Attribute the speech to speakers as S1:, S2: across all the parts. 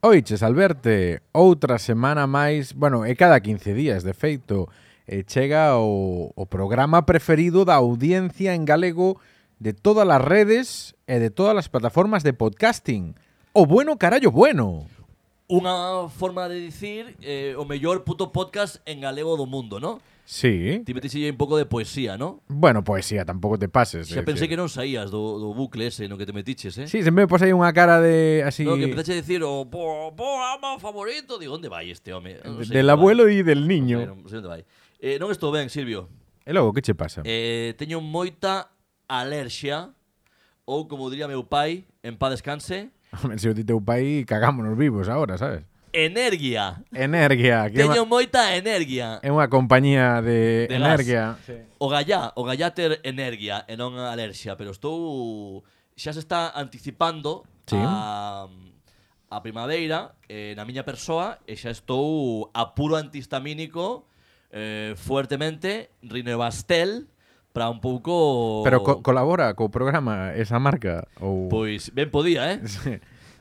S1: Oiches, Alberte, outra semana máis, bueno, e cada 15 días, de feito, e chega o, o programa preferido da audiencia en galego de todas as redes e de todas as plataformas de podcasting. O bueno carallo bueno.
S2: Unha forma de dicir eh, o mellor puto podcast en galego do mundo, ¿no?
S1: Sí.
S2: Ti metiste un pouco de poesía, ¿no?
S1: Bueno, poesía, tampouco te pases.
S2: Xa pensei que non saías do, do bucle ese no que te metiches, eh?
S1: Sí, se me pos aí unha cara de así
S2: No, que empezaste a decir "Oh, o po, programa favorito. Digo, onde vai este home? Non
S1: de-
S2: sei
S1: del
S2: onde vai.
S1: abuelo e del niño.
S2: Non sei onde vai. Eh, non estou ben, Silvio.
S1: E logo, que che pasa?
S2: Eh, teño moita alerxia ou como diría meu pai, en paz descanse,
S1: Home, Se o di teu pai, cagámonos vivos ahora, sabes?
S2: energia.
S1: Energia, que é
S2: Eh. Teño
S1: unha-
S2: moita energia.
S1: é unha compañía de,
S2: De gas.
S1: energia.
S2: O gallá, o gallá ter energia e non a alerxia, pero estou xa se está anticipando
S1: Sí.
S2: a a primavera eh, na miña persoa e xa estou a puro antihistamínico eh, fuertemente Rinovastel para un pouco
S1: Pero co colabora co programa esa marca ou
S2: pois ben podía, eh?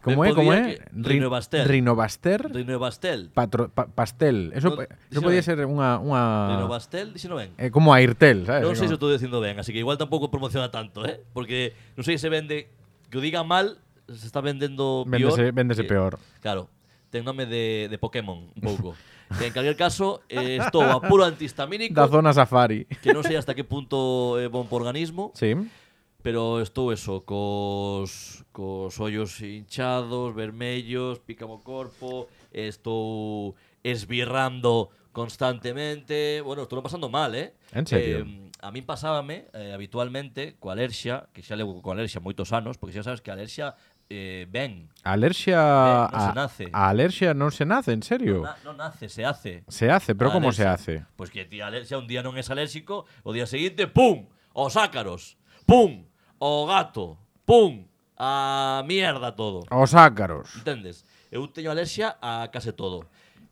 S1: como é,
S2: ben
S1: como
S2: podía
S1: é?
S2: que-
S1: Rin-
S2: Rinovaster.
S1: Rinovaster
S2: Rinovastel.
S1: patro, pa, pastel. Eso,
S2: No,
S1: po- eso
S2: díselo
S1: podía
S2: ben.
S1: ser unha unha
S2: Rinovastel, dixeno ben.
S1: Ah. eh, como a Irtel, sabes?
S2: Non sei se
S1: Como-
S2: estou dicindo ben, así que igual tampouco promociona tanto, eh? Porque non sei se vende que o diga mal, se está vendendo peor.
S1: Véndese, véndese
S2: que-
S1: peor.
S2: Claro, ten nome de, de Pokémon, un pouco. Que en calquer caso, eh, estou a puro antihistamínico,
S1: Da zona Safari.
S2: que non sei hasta que punto é bon por organismo,
S1: Sí.
S2: pero estou eso, cos, cos ollos hinchados, vermellos, pícamo corpo, estou esbirrando constantemente, bueno, estou pasando mal, eh?
S1: En serio?
S2: Eh, a min pasábame eh, habitualmente coa alerxia, que xa levo coa alerxia moitos anos, porque xa sabes que a alerxia eh, ven,
S1: A Alerxia
S2: Eh, non
S1: a,
S2: se nace.
S1: a alerxia non se nace, en serio.
S2: non na- non nace, se hace.
S1: Se hace, pero
S2: A
S1: como se
S2: alerxia.
S1: hace?
S2: Pois Pues que ti alerxia un día non es alérxico, o día seguinte, pum, os ácaros, pum, o gato, pum, a mierda todo.
S1: Os ácaros.
S2: Entendes? Eu teño alerxia a case todo.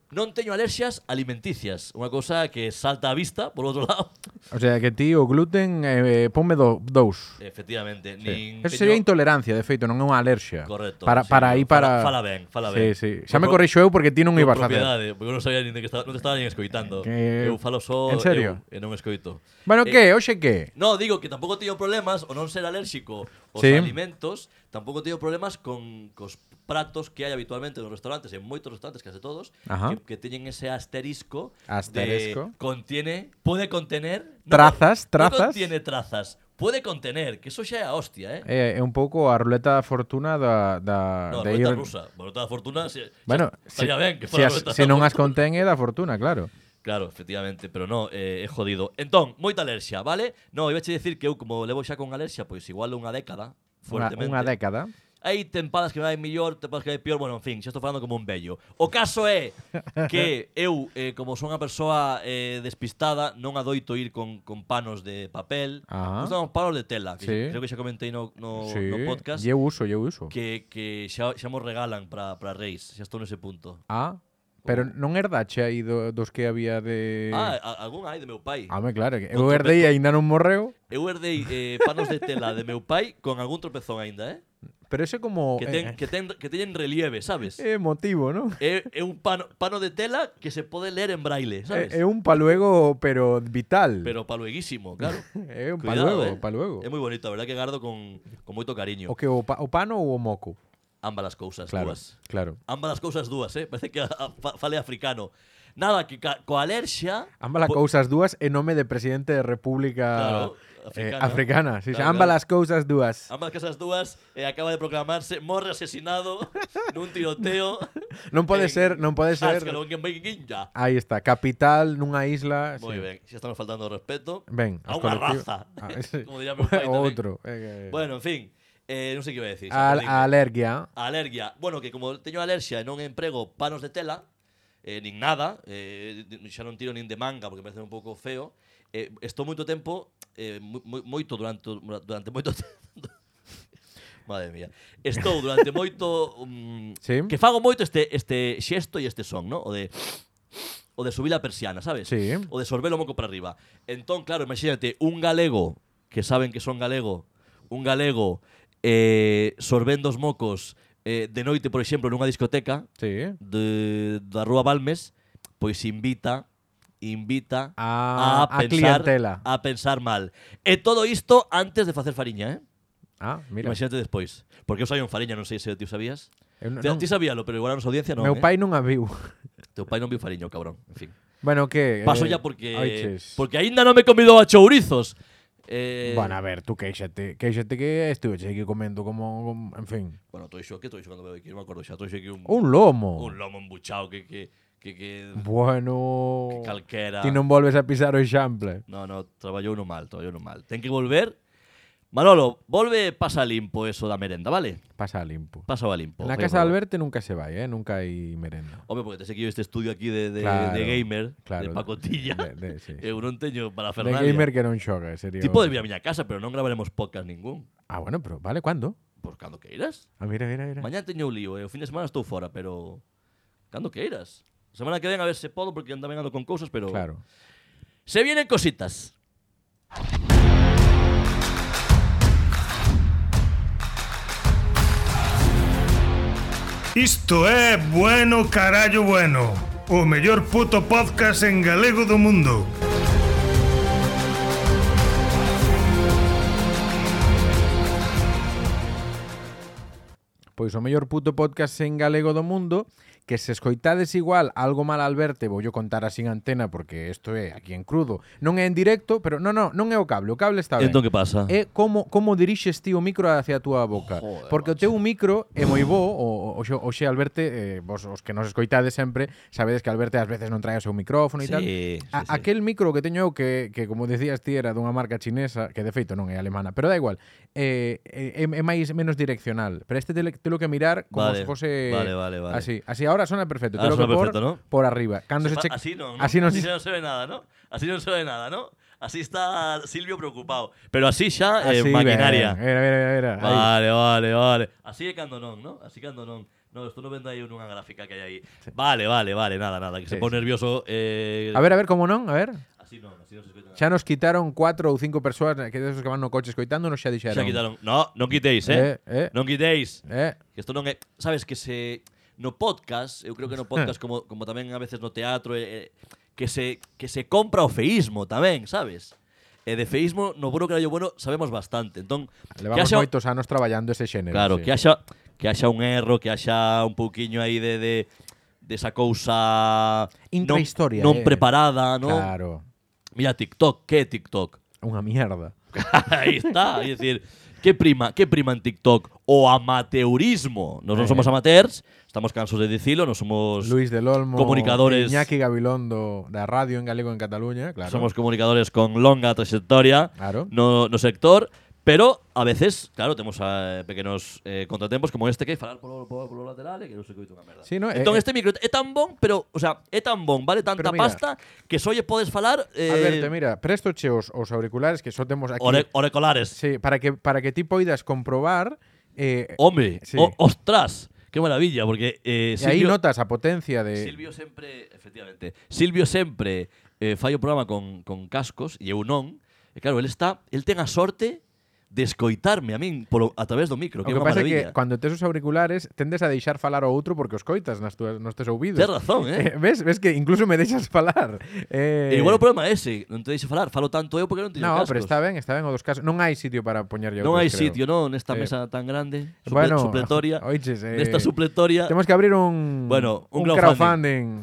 S2: Non teño alerxias alimenticias, unha cousa que salta á vista, por outro lado.
S1: O sea, que ti o gluten eh, ponme do, dous.
S2: Efectivamente,
S1: Sí.
S2: nin
S1: Eso
S2: teño-
S1: sería intolerancia, de feito, non é unha alerxia.
S2: Correcto.
S1: Para,
S2: sí,
S1: para aí, para...
S2: Fala, fala ben, fala ben.
S1: Sí, sí. Xa me
S2: Por-
S1: corrixo eu porque ti non
S2: por
S1: ibas a hacer.
S2: propiedade, Porque eu non sabía nin de que estaba, non te estaba nin escoitando.
S1: Que-
S2: Eu falo só
S1: En serio?
S2: eu, e non escoito.
S1: Bueno,
S2: Eh,
S1: que? Oxe, que?
S2: No, digo que tampouco teño problemas o non ser alérxico aos
S1: Sí.
S2: alimentos, tampouco teño problemas con cos pratos que hai habitualmente nos restaurantes, en moitos restaurantes, case todos,
S1: Ajá.
S2: que, que teñen ese asterisco,
S1: Asterisco.
S2: de contiene, pode contener
S1: Trazas,
S2: no,
S1: trazas.
S2: Non contiene trazas, pode contener, que eso xa é a hostia,
S1: É,
S2: eh.
S1: é un pouco a ruleta da fortuna da, da,
S2: no,
S1: de
S2: ruleta
S1: ir-
S2: rusa, ruleta da fortuna, se,
S1: Bueno,
S2: se, estaría ben que
S1: se,
S2: fora
S1: as,
S2: ruleta
S1: se
S2: da
S1: non as
S2: fortuna.
S1: contén é da fortuna, claro.
S2: Claro, efectivamente, pero no, eh, é jodido. Entón, moita alerxia, vale? No, iba a decir que eu como levo xa con alerxia, pois igual unha década,
S1: Unha,
S2: fuertemente.
S1: unha década.
S2: Hai tempadas que me vai mellor, tempadas que me vai peor, bueno, en fin, xa estou falando como un bello. O caso é que eu, eh, como son unha persoa eh, despistada, non adoito ir con, con panos de papel,
S1: Ajá.
S2: usamos panos de tela, que
S1: Ah. Sí.
S2: creo que xa comentei no, no,
S1: sí.
S2: no podcast,
S1: Eu uso, eu uso.
S2: que, que xa, xa mo regalan para reis, xa estou nese punto.
S1: Ah, pero non herdache aí do, dos que había de...
S2: Ah, a- algún hai de meu pai.
S1: Home, claro, que
S2: Con
S1: eu herdei
S2: trompeta.
S1: aínda non morreu,
S2: Eu herdei eh, panos de tela de meu pai con algún tropezón aínda, eh?
S1: pero ese como... eh,
S2: Que, ten, que, ten, que teñen relieve, sabes?
S1: É emotivo, non?
S2: É, é un pano, pano de tela que se pode ler en braille, sabes?
S1: Eh, É, é un paluego, pero vital.
S2: Pero palueguísimo, claro.
S1: é un
S2: Cuidado,
S1: paluego,
S2: eh.
S1: paluego.
S2: É moi bonito, a verdad que gardo con, con moito cariño.
S1: O que o, pa, o pano ou o moco?
S2: Ambas as cousas
S1: Claro,
S2: dúas.
S1: claro.
S2: Ambas as cousas dúas, eh? Parece que a, a, fa- fale africano. Nada, que ca, coa alerxia...
S1: Ambas las
S2: po-
S1: cousas dúas e nome de presidente de República
S2: Claro,
S1: eh,
S2: africana.
S1: africana. Sí, sí,
S2: Claro,
S1: ambas
S2: claro. Ah,
S1: las cousas dúas.
S2: Ambas casas dúas eh, acaba de proclamarse morre asesinado nun tiroteo. Ah,
S1: Non pode
S2: en
S1: ser, non pode ser.
S2: Ascalón, en Beguinja.
S1: Aí está, capital nunha isla.
S2: Moi ben, xa estamos faltando o respeto.
S1: Ben,
S2: a
S1: aos
S2: unha
S1: colectivos.
S2: raza.
S1: Ah, sí.
S2: Como diría meu pai
S1: O
S2: tamén.
S1: outro. eh, eh.
S2: Bueno, en fin, eh, non sei que iba a decir. xa
S1: a,
S2: perdín.
S1: a alergia.
S2: A alergia. Bueno, que como teño alerxia e non emprego panos de tela, eh, nin nada, eh, di- xa non tiro nin de manga porque parece un pouco feo, eh, estou moito tempo, eh, moi- moi- moito durante, durante moito tempo, Madre mía. Estou durante moito... Um,
S1: Sí.
S2: Que fago moito este, este xesto e este son, ¿no? O de... O de subir a persiana, sabes?
S1: Sí.
S2: O de sorber o moco para arriba. Entón, claro, imagínate, un galego, que saben que son galego, un galego eh, sorbendo os mocos eh, de noite, por exemplo, nunha discoteca
S1: Sí.
S2: de, da Rúa Balmes, pois invita invita
S1: A- a
S2: Ah, pensar Ah,
S1: clientela.
S2: a pensar mal. E todo isto antes de facer fariña, eh?
S1: Ah, mira. Eh,
S2: Imagínate despois. Porque eu saio en fariña, non sei se ti o sabías.
S1: Eu non-
S2: Ti-
S1: non-
S2: Ti sabíalo, pero igual a nosa audiencia non,
S1: meu
S2: eh?
S1: pai non a viu.
S2: Teu pai non viu fariña, o cabrón. En fin.
S1: Bueno, que...
S2: Paso
S1: eh,
S2: ya porque
S1: oiches.
S2: porque aínda non me convidou a chourizos. Eh,
S1: Bueno, a ver, tú queixate, queixate que estuve aquí comendo como, como- en fin,
S2: bueno, todo iso, que todo iso cando bebo aquí, non me acordo xa, todo iso aquí un,
S1: un lomo.
S2: un lomo embuchado que que que, que,
S1: Bueno,
S2: que calquera.
S1: ti non volves a pisar o xample.
S2: No, no, traballou no mal, traballou no mal. Ten que volver. Manolo, volve pasa limpo eso da merenda, vale?
S1: Pasa limpo.
S2: Pasa va limpo.
S1: Na
S2: por
S1: casa de
S2: favor.
S1: Alberto nunca se vai, eh, nunca hai merenda.
S2: Home, porque te sei que yo este estudio aquí de, de,
S1: Claro,
S2: de gamer,
S1: claro,
S2: de pacotilla,
S1: de- de- sí, sí.
S2: eu non teño para
S1: De
S2: Fernández.
S1: gamer que non xoga, sería.
S2: Tipo de
S1: o-
S2: vir a miña casa, pero non gravaremos podcast ningún. Pues
S1: Ah, bueno, pero vale, cando?
S2: Por cando queiras.
S1: Ah, mira, mira, mira.
S2: Mañá teño un lío, e o fin de semana estou fora, pero cando queiras. Semana que ven a ver se podo, porque ando ando con cousas, pero...
S1: Claro.
S2: Se vienen cositas.
S3: Isto é Bueno Carallo Bueno O mellor puto podcast en galego do mundo
S1: Pois o mellor puto podcast en galego do mundo Que se escoitades igual algo mal Alberto Vou yo contar así en antena porque isto é aquí en crudo Non é en directo, pero non, non, non é o cable O cable está ben
S2: Entón, que pasa?
S1: É como, como dirixes ti o micro hacia a túa boca
S2: Joder,
S1: Porque o teu micro é moi bo O, o, xe- o xe Alberto, eh, vos os que nos escoitades sempre Sabedes que Alberto ás veces non trae o seu micrófono e
S2: Sí,
S1: tal
S2: sí,
S1: A-
S2: sí.
S1: Aquel micro que teño eu que, que como decías ti era dunha marca chinesa Que de feito non é alemana, pero da igual eh, É, é máis menos direccional Pero este tele, telo que mirar como se
S2: Vale,
S1: fose
S2: vale, vale, vale.
S1: así Así ahora sona perfecto, telo
S2: Ahora
S1: que
S2: sona
S1: por,
S2: perfecto, ¿no?
S1: por arriba Cando se
S2: Sepa-
S1: che-
S2: Ah, Así no,
S1: Así non
S2: ¿no? así
S1: se-
S2: no se ve nada, ¿no? Así no se ve nada, ¿no? Así está Silvio preocupado. Pero así xa eh,
S1: así,
S2: maquinaria.
S1: ben. Era, era, era, era. Aí.
S2: Vale, vale, vale. Así é cando non, ¿no? Así cando non. No, esto no vendo aí nunha gráfica que hai aí. Vale, vale, vale, nada, nada, que se
S1: Sí,
S2: pone nervioso eh,
S1: A ver, a ver, como non, a ver
S2: Así non, así non se escoita nada.
S1: Xa nos quitaron cuatro ou cinco persoas que desos que van no coche escoitando nos xa dixeron.
S2: Xa quitaron. No, non quiteis, eh.
S1: Eh, eh.
S2: Non quiteis.
S1: Eh,
S2: Que isto non é, sabes que se no podcast, eu creo que
S1: Eh.
S2: no podcast como como tamén a veces no teatro eh, eh, que se que se compra o feísmo tamén, sabes? E de feísmo no bueno que bueno sabemos bastante. Entón, que
S1: levamos
S2: haxa-
S1: moitos anos traballando ese xénero.
S2: Claro,
S1: sí.
S2: que haxa que haxa un erro, que haxa un pouquiño aí de de desa cousa non,
S1: Intrahistoria, eh.
S2: non preparada, non?
S1: Claro.
S2: Mira TikTok, que é TikTok?
S1: Unha mierda.
S2: Ahí está, es decir, ¿qué prima, qué prima en TikTok? O amateurismo. Nos no
S1: Eh.
S2: somos amateurs, estamos cansos de decirlo, no somos,
S1: Luis del Olmo,
S2: comunicadores.
S1: Iñaki Gabilondo da radio en galego en Cataluña, claro.
S2: somos comunicadores con longa trayectoria
S1: Claro.
S2: no, no sector, pero a veces, claro, tenemos eh, pequenos eh, contratempos como este que hay falar por, por, por los laterales, que no se coito una merda.
S1: Sí, no, eh,
S2: Entón,
S1: eh.
S2: este micro es tan bon, pero, o sea, es tan bon, vale tanta
S1: Pero mira.
S2: pasta que solle podes falar eh,
S1: Alberto, mira, presto che os, os auriculares que só temos aquí.
S2: ore- orecolares.
S1: Sí, para que para que ti poidas comprobar eh,
S2: Hombre,
S1: Sí.
S2: o- ostras, qué maravilla, porque eh,
S1: e aí
S2: Silvio-
S1: notas a potencia de
S2: Silvio sempre, efectivamente, Silvio sempre eh, fai o programa con, con cascos e eu non. E claro, el está, el ten a sorte de escoitarme a min polo, a través do micro,
S1: O
S2: que,
S1: que
S2: é unha
S1: pasa é
S2: maravilla.
S1: que cando tes os auriculares tendes a deixar falar ao outro porque os coitas nas tuas, nos teus ouvidos.
S2: Tes razón,
S1: Eh,
S2: eh?
S1: ves, ves que incluso me deixas falar. Eh,
S2: E igual o problema é ese, non te deixe falar, falo tanto eu porque non teño
S1: No,
S2: cascos.
S1: pero está ben, está ben o dos casos. Non hai sitio para poñerlle
S2: non
S1: outros,
S2: hai
S1: creo.
S2: sitio, non, nesta
S1: Eh,
S2: mesa tan grande, suple,
S1: bueno,
S2: supletoria.
S1: oiches, eh,
S2: nesta supletoria.
S1: Temos que abrir un
S2: Bueno, un,
S1: un
S2: crowdfunding.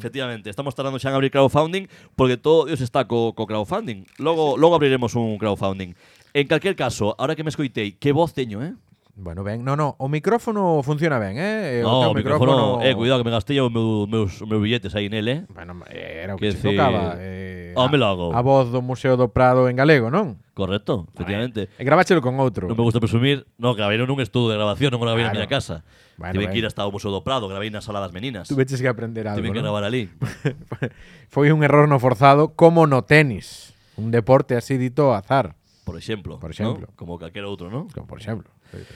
S1: crowdfunding.
S2: Efectivamente, estamos tardando xa en abrir crowdfunding porque todo Dios está co, co crowdfunding. Logo, logo abriremos un crowdfunding. En calquer caso, ahora que me escoitei, que voz teño, eh?
S1: Bueno, ben, no, no, o micrófono funciona ben, eh? teu
S2: no, o micrófono, eh, cuidado que me gastei os meus, meus, os meus billetes aí nel, eh?
S1: Bueno, eh, era o que, se
S2: Que decir,
S1: tocaba. Eh,
S2: home
S1: a-
S2: logo.
S1: A voz do Museo do Prado en galego, non?
S2: Correcto, efectivamente.
S1: E graváchelo con outro.
S2: Non me gusta presumir, no, gravaron nun estudo de grabación, non grabei na
S1: Claro.
S2: miña casa.
S1: Bueno,
S2: Tive que
S1: ben.
S2: ir hasta o Museo do Prado, gravei na Sala das Meninas. Tive
S1: Tuveches que aprender algo,
S2: que
S1: non?
S2: gravar ali.
S1: Foi un error no forzado como no tenis, un deporte así dito ao azar,
S2: Por exemplo,
S1: Por exemplo.
S2: ¿no? como calquera outro, ¿no?
S1: como por exemplo.
S2: Pues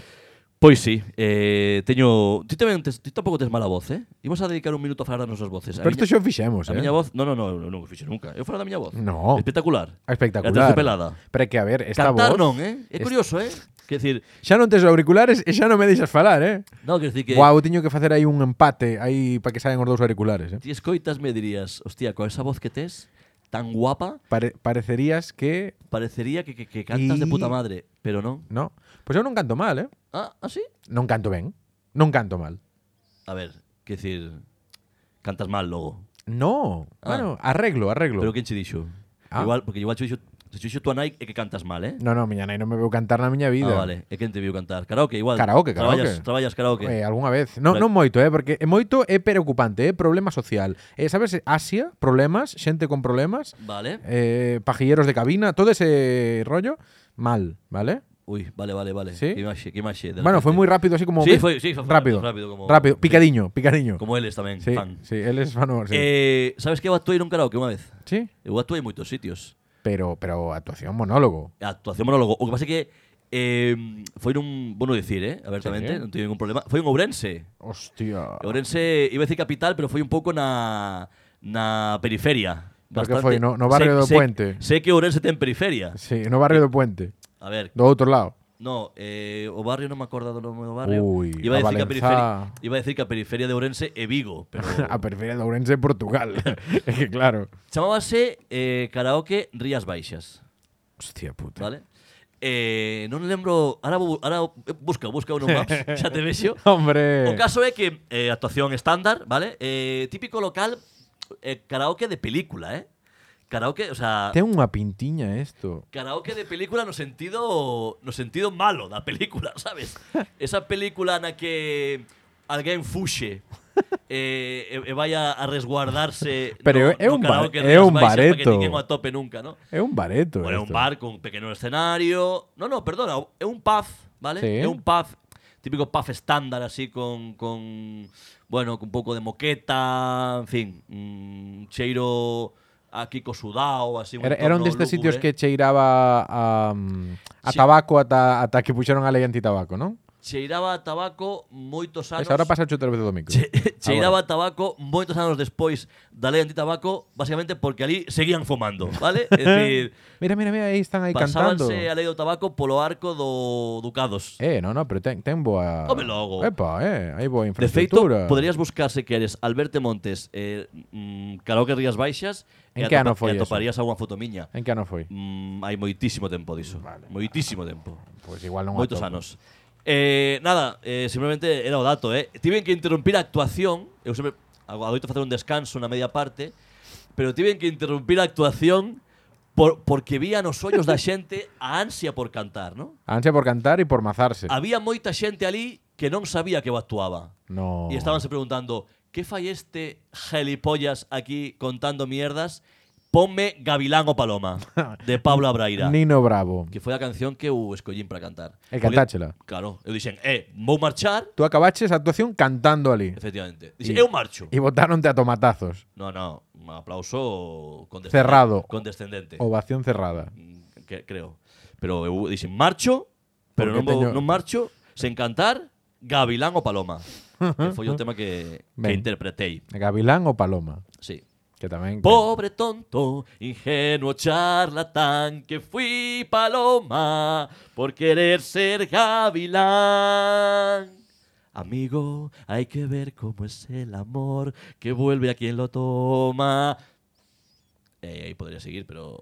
S2: Pois sí, eh, teño... Ti, tamén tes, ti tampouco tes mala voz, eh? Imos a dedicar un minuto a falar das nosas voces. A
S1: Pero isto xa
S2: miña,
S1: o fixemos,
S2: a
S1: eh?
S2: miña voz... No, no, no, eu non o fixo nunca. Eu falo da miña voz.
S1: No.
S2: Espectacular.
S1: Espectacular.
S2: Aterciopelada.
S1: Pero é que a ver, esta
S2: Cantar
S1: voz
S2: non, eh? É
S1: es-
S2: curioso, eh? Quer dicir,
S1: Xa non tes os auriculares e xa non me deixas falar, eh?
S2: no, quer dicir que
S1: Guau, teño que facer aí un empate aí para que saian os dous auriculares, eh?
S2: ti escoitas me dirías, hostia, con esa voz que tes, tan guapa,
S1: Pare- parecerías que...
S2: parecería que, que, que cantas de
S1: Y-
S2: puta madre, pero non.
S1: No. Pois eu non canto mal, eh?
S2: Ah, así.
S1: Non canto ben. Non canto mal.
S2: A ver, quer dicir, cantas mal logo.
S1: No.
S2: Ah.
S1: Bueno, arreglo, arreglo.
S2: Pero quen che dixo?
S1: Ah.
S2: Igual, porque igual che dixo, se che dixo tua nai é que cantas mal, eh?
S1: No, no, miña nai non me veu cantar na miña vida.
S2: Ah, vale, é quen te viu cantar. Karaoke, igual.
S1: Karaoke,
S2: Traballas,
S1: karaoke.
S2: traballas karaoke.
S1: Eh, algunha vez. Non,
S2: Vale.
S1: non moito, eh, porque é moito é preocupante, é problema social. Eh, sabes, Asia, problemas, xente con problemas,
S2: Vale.
S1: eh, pajilleros de cabina, todo ese rollo, mal, ¿vale?
S2: Uy, vale, vale, vale.
S1: Sí.
S2: Que imaxe, que imaxe. de
S1: Bueno,
S2: repente.
S1: fue muy rápido, así como... ¿ves?
S2: Sí, fue- sí, fue
S1: rápido,
S2: rápido, rápido,
S1: rápido,
S2: como-
S1: picadiño, picadiño.
S2: Como eles tamén,
S1: sí,
S2: fan.
S1: sí, él es fan, sí.
S2: Eh, sabes que eu actuei nun karaoke unha vez?
S1: Sí,
S2: Eu actuei en moitos sitios.
S1: pero, pero actuación monólogo.
S2: A actuación monólogo. O que pasa é que eh, foi nun, bueno dicir, eh,
S1: Sí.
S2: abertamente,
S1: Ah.
S2: non teño ningún problema. Foi en Ourense.
S1: Hostia.
S2: Ourense iba a decir capital, pero foi un pouco na na periferia.
S1: Pero que foi, no- no barrio do
S2: Sei- sei-
S1: Puente.
S2: Sei que Ourense ten periferia.
S1: Sí, no
S2: Eh,
S1: barrio do Puente,
S2: A ver,
S1: do outro lado.
S2: No, eh, o barrio non me acordo do nome do barrio.
S1: Ui,
S2: iba,
S1: a
S2: a decir
S1: Valenzá.
S2: que a periferia, iba a decir que a periferia de Ourense e Vigo, pero
S1: A periferia de Ourense, Portugal. es que claro.
S2: chamábase eh, Karaoke Rías Baixas,
S1: Hostia puta.
S2: vale? Eh, non lembro, ahora, bu- ahora eh, busca, busca uno maps, xa te vexo.
S1: Hombre.
S2: O caso é que eh, actuación estándar, vale? Eh, típico local eh, karaoke de película, eh? Karaoke, o sea,
S1: Ten unha Ah. pintiña esto.
S2: Karaoke de película no sentido no sentido malo da película, sabes? Esa película na que alguén fuxe eh, e, e vai a, a resguardarse
S1: Pero
S2: no,
S1: é
S2: no
S1: un bar-
S2: karaoke
S1: é
S2: Rías
S1: un
S2: Baixas para que
S1: bareto.
S2: ninguén o atope nunca, ¿no?
S1: É un bareto
S2: Bueno, é un
S1: esto.
S2: bar con un pequeno escenario. No, no, perdona, é un pub, ¿vale?
S1: Sí.
S2: É un pub, típico pub estándar así con con bueno, con un pouco de moqueta, en fin, un cheiro aquí co sudao, así un
S1: Era, era un
S2: entorno
S1: destes sitios que
S2: lúgubre.
S1: cheiraba a, mm, a
S2: Sí.
S1: tabaco ata, ata que puxeron a lei antitabaco, non?
S2: cheiraba a tabaco moitos anos.
S1: Ves, ahora Ah, pasa outra vez do micro.
S2: Che-
S1: Agora.
S2: cheiraba a tabaco moitos anos despois da lei antitabaco, basicamente porque ali seguían fumando, vale? É dicir,
S1: Mira, mira, mira, aí están aí cantando.
S2: pasábanse a lei do tabaco polo arco do Ducados.
S1: Eh, no, no, pero ten, ten boa...
S2: Home, logo.
S1: Epa, eh, hai boa
S2: De feito,
S1: infraestructura.
S2: poderías buscar se queres Alberto Montes, eh, mm, Karaoke Rías Baixas,
S1: En
S2: e,
S1: que ano
S2: atopa-
S1: foi
S2: e
S1: eso?
S2: atoparías algunha foto miña.
S1: En que ano foi?
S2: Mm, hai moitísimo tempo diso. moitísimo tempo.
S1: Pois Pues igual non
S2: Moitos
S1: atopo.
S2: anos. Eh, nada, eh, simplemente era o dato, eh. Tiven que interrumpir a actuación, eu sempre ago- adoito facer un descanso na media parte, pero tiven que interrumpir a actuación por, porque vía nos ollos da xente a ansia por cantar, ¿no?
S1: A Ansia por cantar e por mazarse.
S2: Había moita xente ali que non sabía que eu actuaba.
S1: No.
S2: E estabanse preguntando, que fai este gelipollas aquí contando mierdas? Ponme Gavilán o Paloma, de Pablo Abraira.
S1: Nino Bravo.
S2: Que foi a canción que eu escollín para cantar.
S1: E
S2: Porque-
S1: cantáchela.
S2: Claro, eu dixen, eh, vou marchar,
S1: Tú acabaches a actuación cantando ali.
S2: efectivamente.
S1: E-
S2: Dixen, eu marcho.
S1: E botaronte a tomatazos.
S2: No, no, un aplauso condescendente.
S1: Cerrado. Oh.
S2: Condescendente,
S1: Ovación cerrada.
S2: mm, que, creo. Pero eu dixen, marcho, pero
S1: Porque
S2: non, vou,
S1: teño-
S2: non marcho, sen cantar, Gavilán o Paloma. que foi o tema que, que
S1: Ben.
S2: interpretei.
S1: Gavilán o Paloma.
S2: Sí.
S1: Que tamén...
S2: Pobre tonto, ingenuo charlatán, que fui paloma por querer ser gavilán. Amigo, hay que ver cómo es el amor que vuelve a quien lo toma. Eh, ahí podría seguir, pero.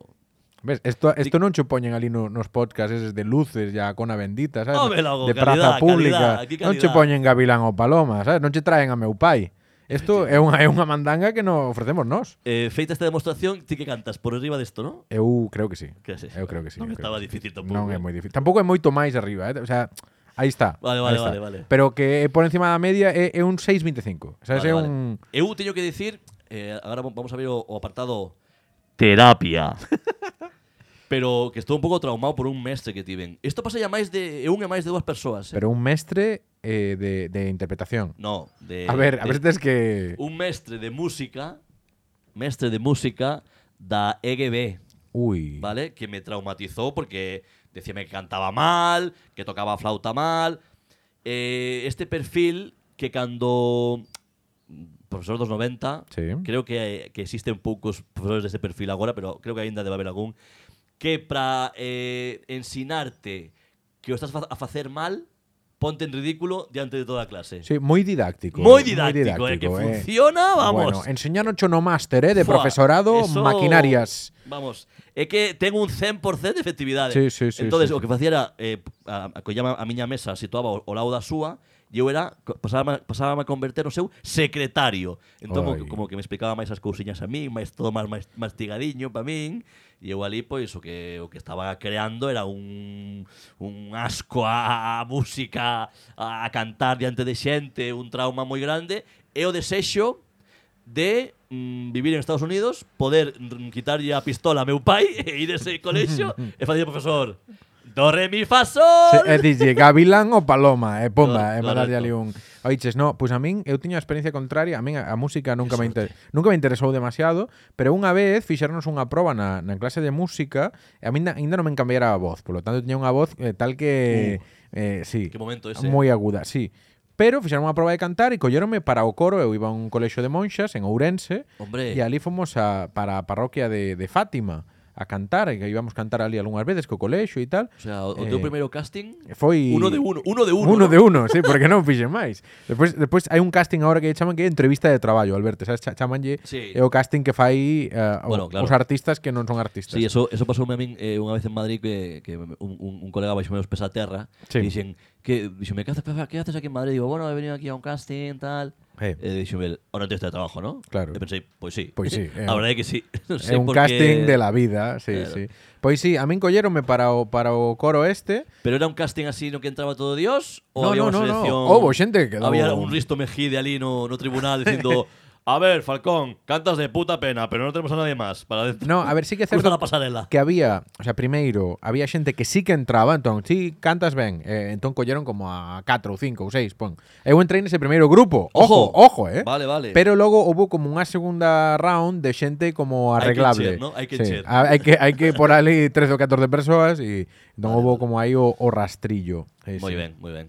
S1: Ves, esto, esto non cho poñen ali no, nos podcasts eses de luces ya con a bendita, sabes?
S2: Home, logo,
S1: de praza
S2: calidad,
S1: pública.
S2: calidad, aquí
S1: non cho
S2: calidad.
S1: poñen Gavilán o Paloma, sabes? Non che traen a meu pai. Isto é unha, é unha mandanga que non ofrecemos nós.
S2: Eh, feita esta demostración, ti que cantas por arriba desto, ¿no?
S1: Eu creo que sí.
S2: Que sí.
S1: Eu creo que sí.
S2: Non
S1: eu creo
S2: estaba
S1: que sí.
S2: difícil tampouco.
S1: Non é moi difícil. Tampouco é moito máis arriba, eh? O sea, aí está.
S2: Vale,
S1: aí
S2: vale,
S1: está.
S2: vale, vale.
S1: Pero que é por encima da media é, é un e 6.25. Sabes, é
S2: Vale, vale.
S1: un...
S2: Eu teño que dicir, eh, agora vam- vamos a ver o, o apartado terapia. Pero que estou un pouco traumado por un mestre que tiven. Isto pasa a máis de eu e máis de dúas persoas, eh?
S1: Pero un mestre eh, de, de interpretación.
S2: no, de
S1: a ver, a
S2: de-
S1: ver tes que...
S2: un mestre de música, mestre de música da EGB,
S1: Ui.
S2: eh, ¿vale? Que me traumatizou porque decíame que cantaba mal, que tocaba flauta mal. Eh, este perfil que cando profesor dos 90,
S1: Sí.
S2: creo que, que existen poucos profesores deste perfil agora, pero creo que aínda debe haber algún, que para eh, ensinarte que o estás fa- a facer mal, ponte en ridículo diante de toda a clase.
S1: Sí, moi didáctico.
S2: Moi didáctico, eh, que
S1: eh.
S2: funciona, vamos.
S1: Bueno, enseñaron chono máster, eh, de
S2: Fua,
S1: profesorado,
S2: eso-
S1: maquinarias.
S2: Vamos, é que ten un 100% de efectividade.
S1: Sí, sí, sí,
S2: Entonces,
S1: sí,
S2: o que facía era eh, a, a, collaba a miña mesa situaba o, o lado da súa e eu era co- pasaba, pasaba a converter no seu secretario. Entón,
S1: Ai.
S2: Ay. como que me explicaba máis as cousiñas a min, máis todo máis máis mastigadiño para min, e eu ali pois o que o que estaba creando era un un asco a, a música, a, a cantar diante de xente, un trauma moi grande e o desexo de mm, vivir en Estados Unidos, poder mm, quitarlle a pistola a meu pai e ir a ese colexio e facer profesor. Do re mi fa
S1: Se,
S2: sol.
S1: eh, dille, Gavilán ou Paloma, e eh, pomba,
S2: Cor-
S1: e eh, mandarlle
S2: correcto.
S1: ali un... Oiches, no, pois pues a min, eu tiño a experiencia contraria, a min a, a música nunca me,
S2: Que
S1: inter, nunca me interesou demasiado, pero unha vez fixernos unha proba na, na clase de música, e a min na- ainda non me encambiara a voz, polo tanto tiña unha voz eh, tal que... eh, sí,
S2: Uh, Que momento ese.
S1: moi aguda, sí. Pero fixeron unha proba de cantar e colléronme para o coro, eu iba a un colexo de monxas en Ourense,
S2: Hombre.
S1: e ali fomos a, para a parroquia de, de Fátima a cantar, e que íbamos cantar ali algunhas veces co colexo e tal.
S2: O sea, o, o teu
S1: Eh,
S2: primeiro casting
S1: Foi
S2: uno de uno, uno de uno.
S1: Uno
S2: ¿no?
S1: de uno, sí, porque non fixen máis. Despois despois hai un casting ahora que chaman que é entrevista de traballo, Alberto, sabes, Cha- chamanlle
S2: Sí.
S1: é o casting que fai eh, o-
S2: Bueno, claro.
S1: os artistas que non son artistas.
S2: Sí, eso, eso pasoume a min eh, unha vez en Madrid que, que un, un, un colega baixou meus pés a terra
S1: Sí.
S2: sí. e dixen, que, dixenme, que haces, Pepa? que haces aquí en Madrid? Digo, bueno, he venido aquí a un casting, tal.
S1: Eh.
S2: Eh. Eh, dixenme, ahora tienes de trabajo, ¿no?
S1: Claro.
S2: E pensei, pois sí.
S1: Pois sí, eh.
S2: a verdade é que sí. Non
S1: É
S2: sei
S1: un
S2: por qué-
S1: casting de la vida, sí,
S2: Claro.
S1: sí. Pois sí, a min colléronme para o para o coro este.
S2: Pero era un casting así no que entraba todo Dios ou
S1: No,
S2: había
S1: no,
S2: una
S1: no, no.
S2: selección.
S1: Houbo xente que quedou-
S2: Había un Risto Mejide ali no, no tribunal diciendo, "A ver, Falcón, cantas de puta pena, pero no tenemos a nadie más para dentro".
S1: No, a ver, sí que é
S2: Cruza
S1: certo
S2: la pasarela.
S1: que había, o sea, primeiro, había xente que sí que entraba, entón, sí, cantas ben, eh, entón colleron como a 4 ou 5 ou 6, pon. Eu entrei nese primeiro grupo, ojo,
S2: Ojo.
S1: ojo, eh.
S2: Vale, vale.
S1: Pero logo houve como unha segunda round de xente como
S2: Hai que
S1: arreglable.
S2: encher, ¿no? Hai que
S1: sí.
S2: encher.
S1: Ah, hai que hai que por ali 13 ou 14 persoas e non
S2: Vale,
S1: houve
S2: vale.
S1: como aí o, o rastrillo. Sí,
S2: Moi
S1: sí.
S2: ben, moi ben.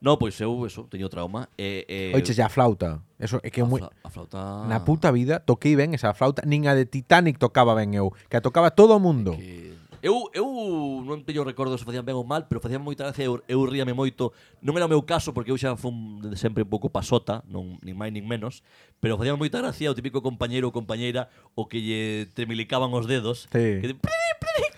S2: No, pois eu eso, teño trauma. Eh, eh,
S1: Oiches, e a flauta. Eso é que é
S2: a
S1: moi
S2: fla- Ah. a flauta.
S1: Na puta vida toquei ben esa flauta, nin a de Titanic tocaba ben eu, que a tocaba todo o mundo.
S2: que- Eu, eu non teño recordo se facían ben ou mal, pero facían moita gracia, eu, eu ríame moito. Non era o meu caso, porque eu xa fun desde sempre un pouco pasota, non, nin máis nin menos, pero facían moita gracia o típico compañeiro ou compañeira o que lle tremilicaban os dedos,
S1: Sí.
S2: que de,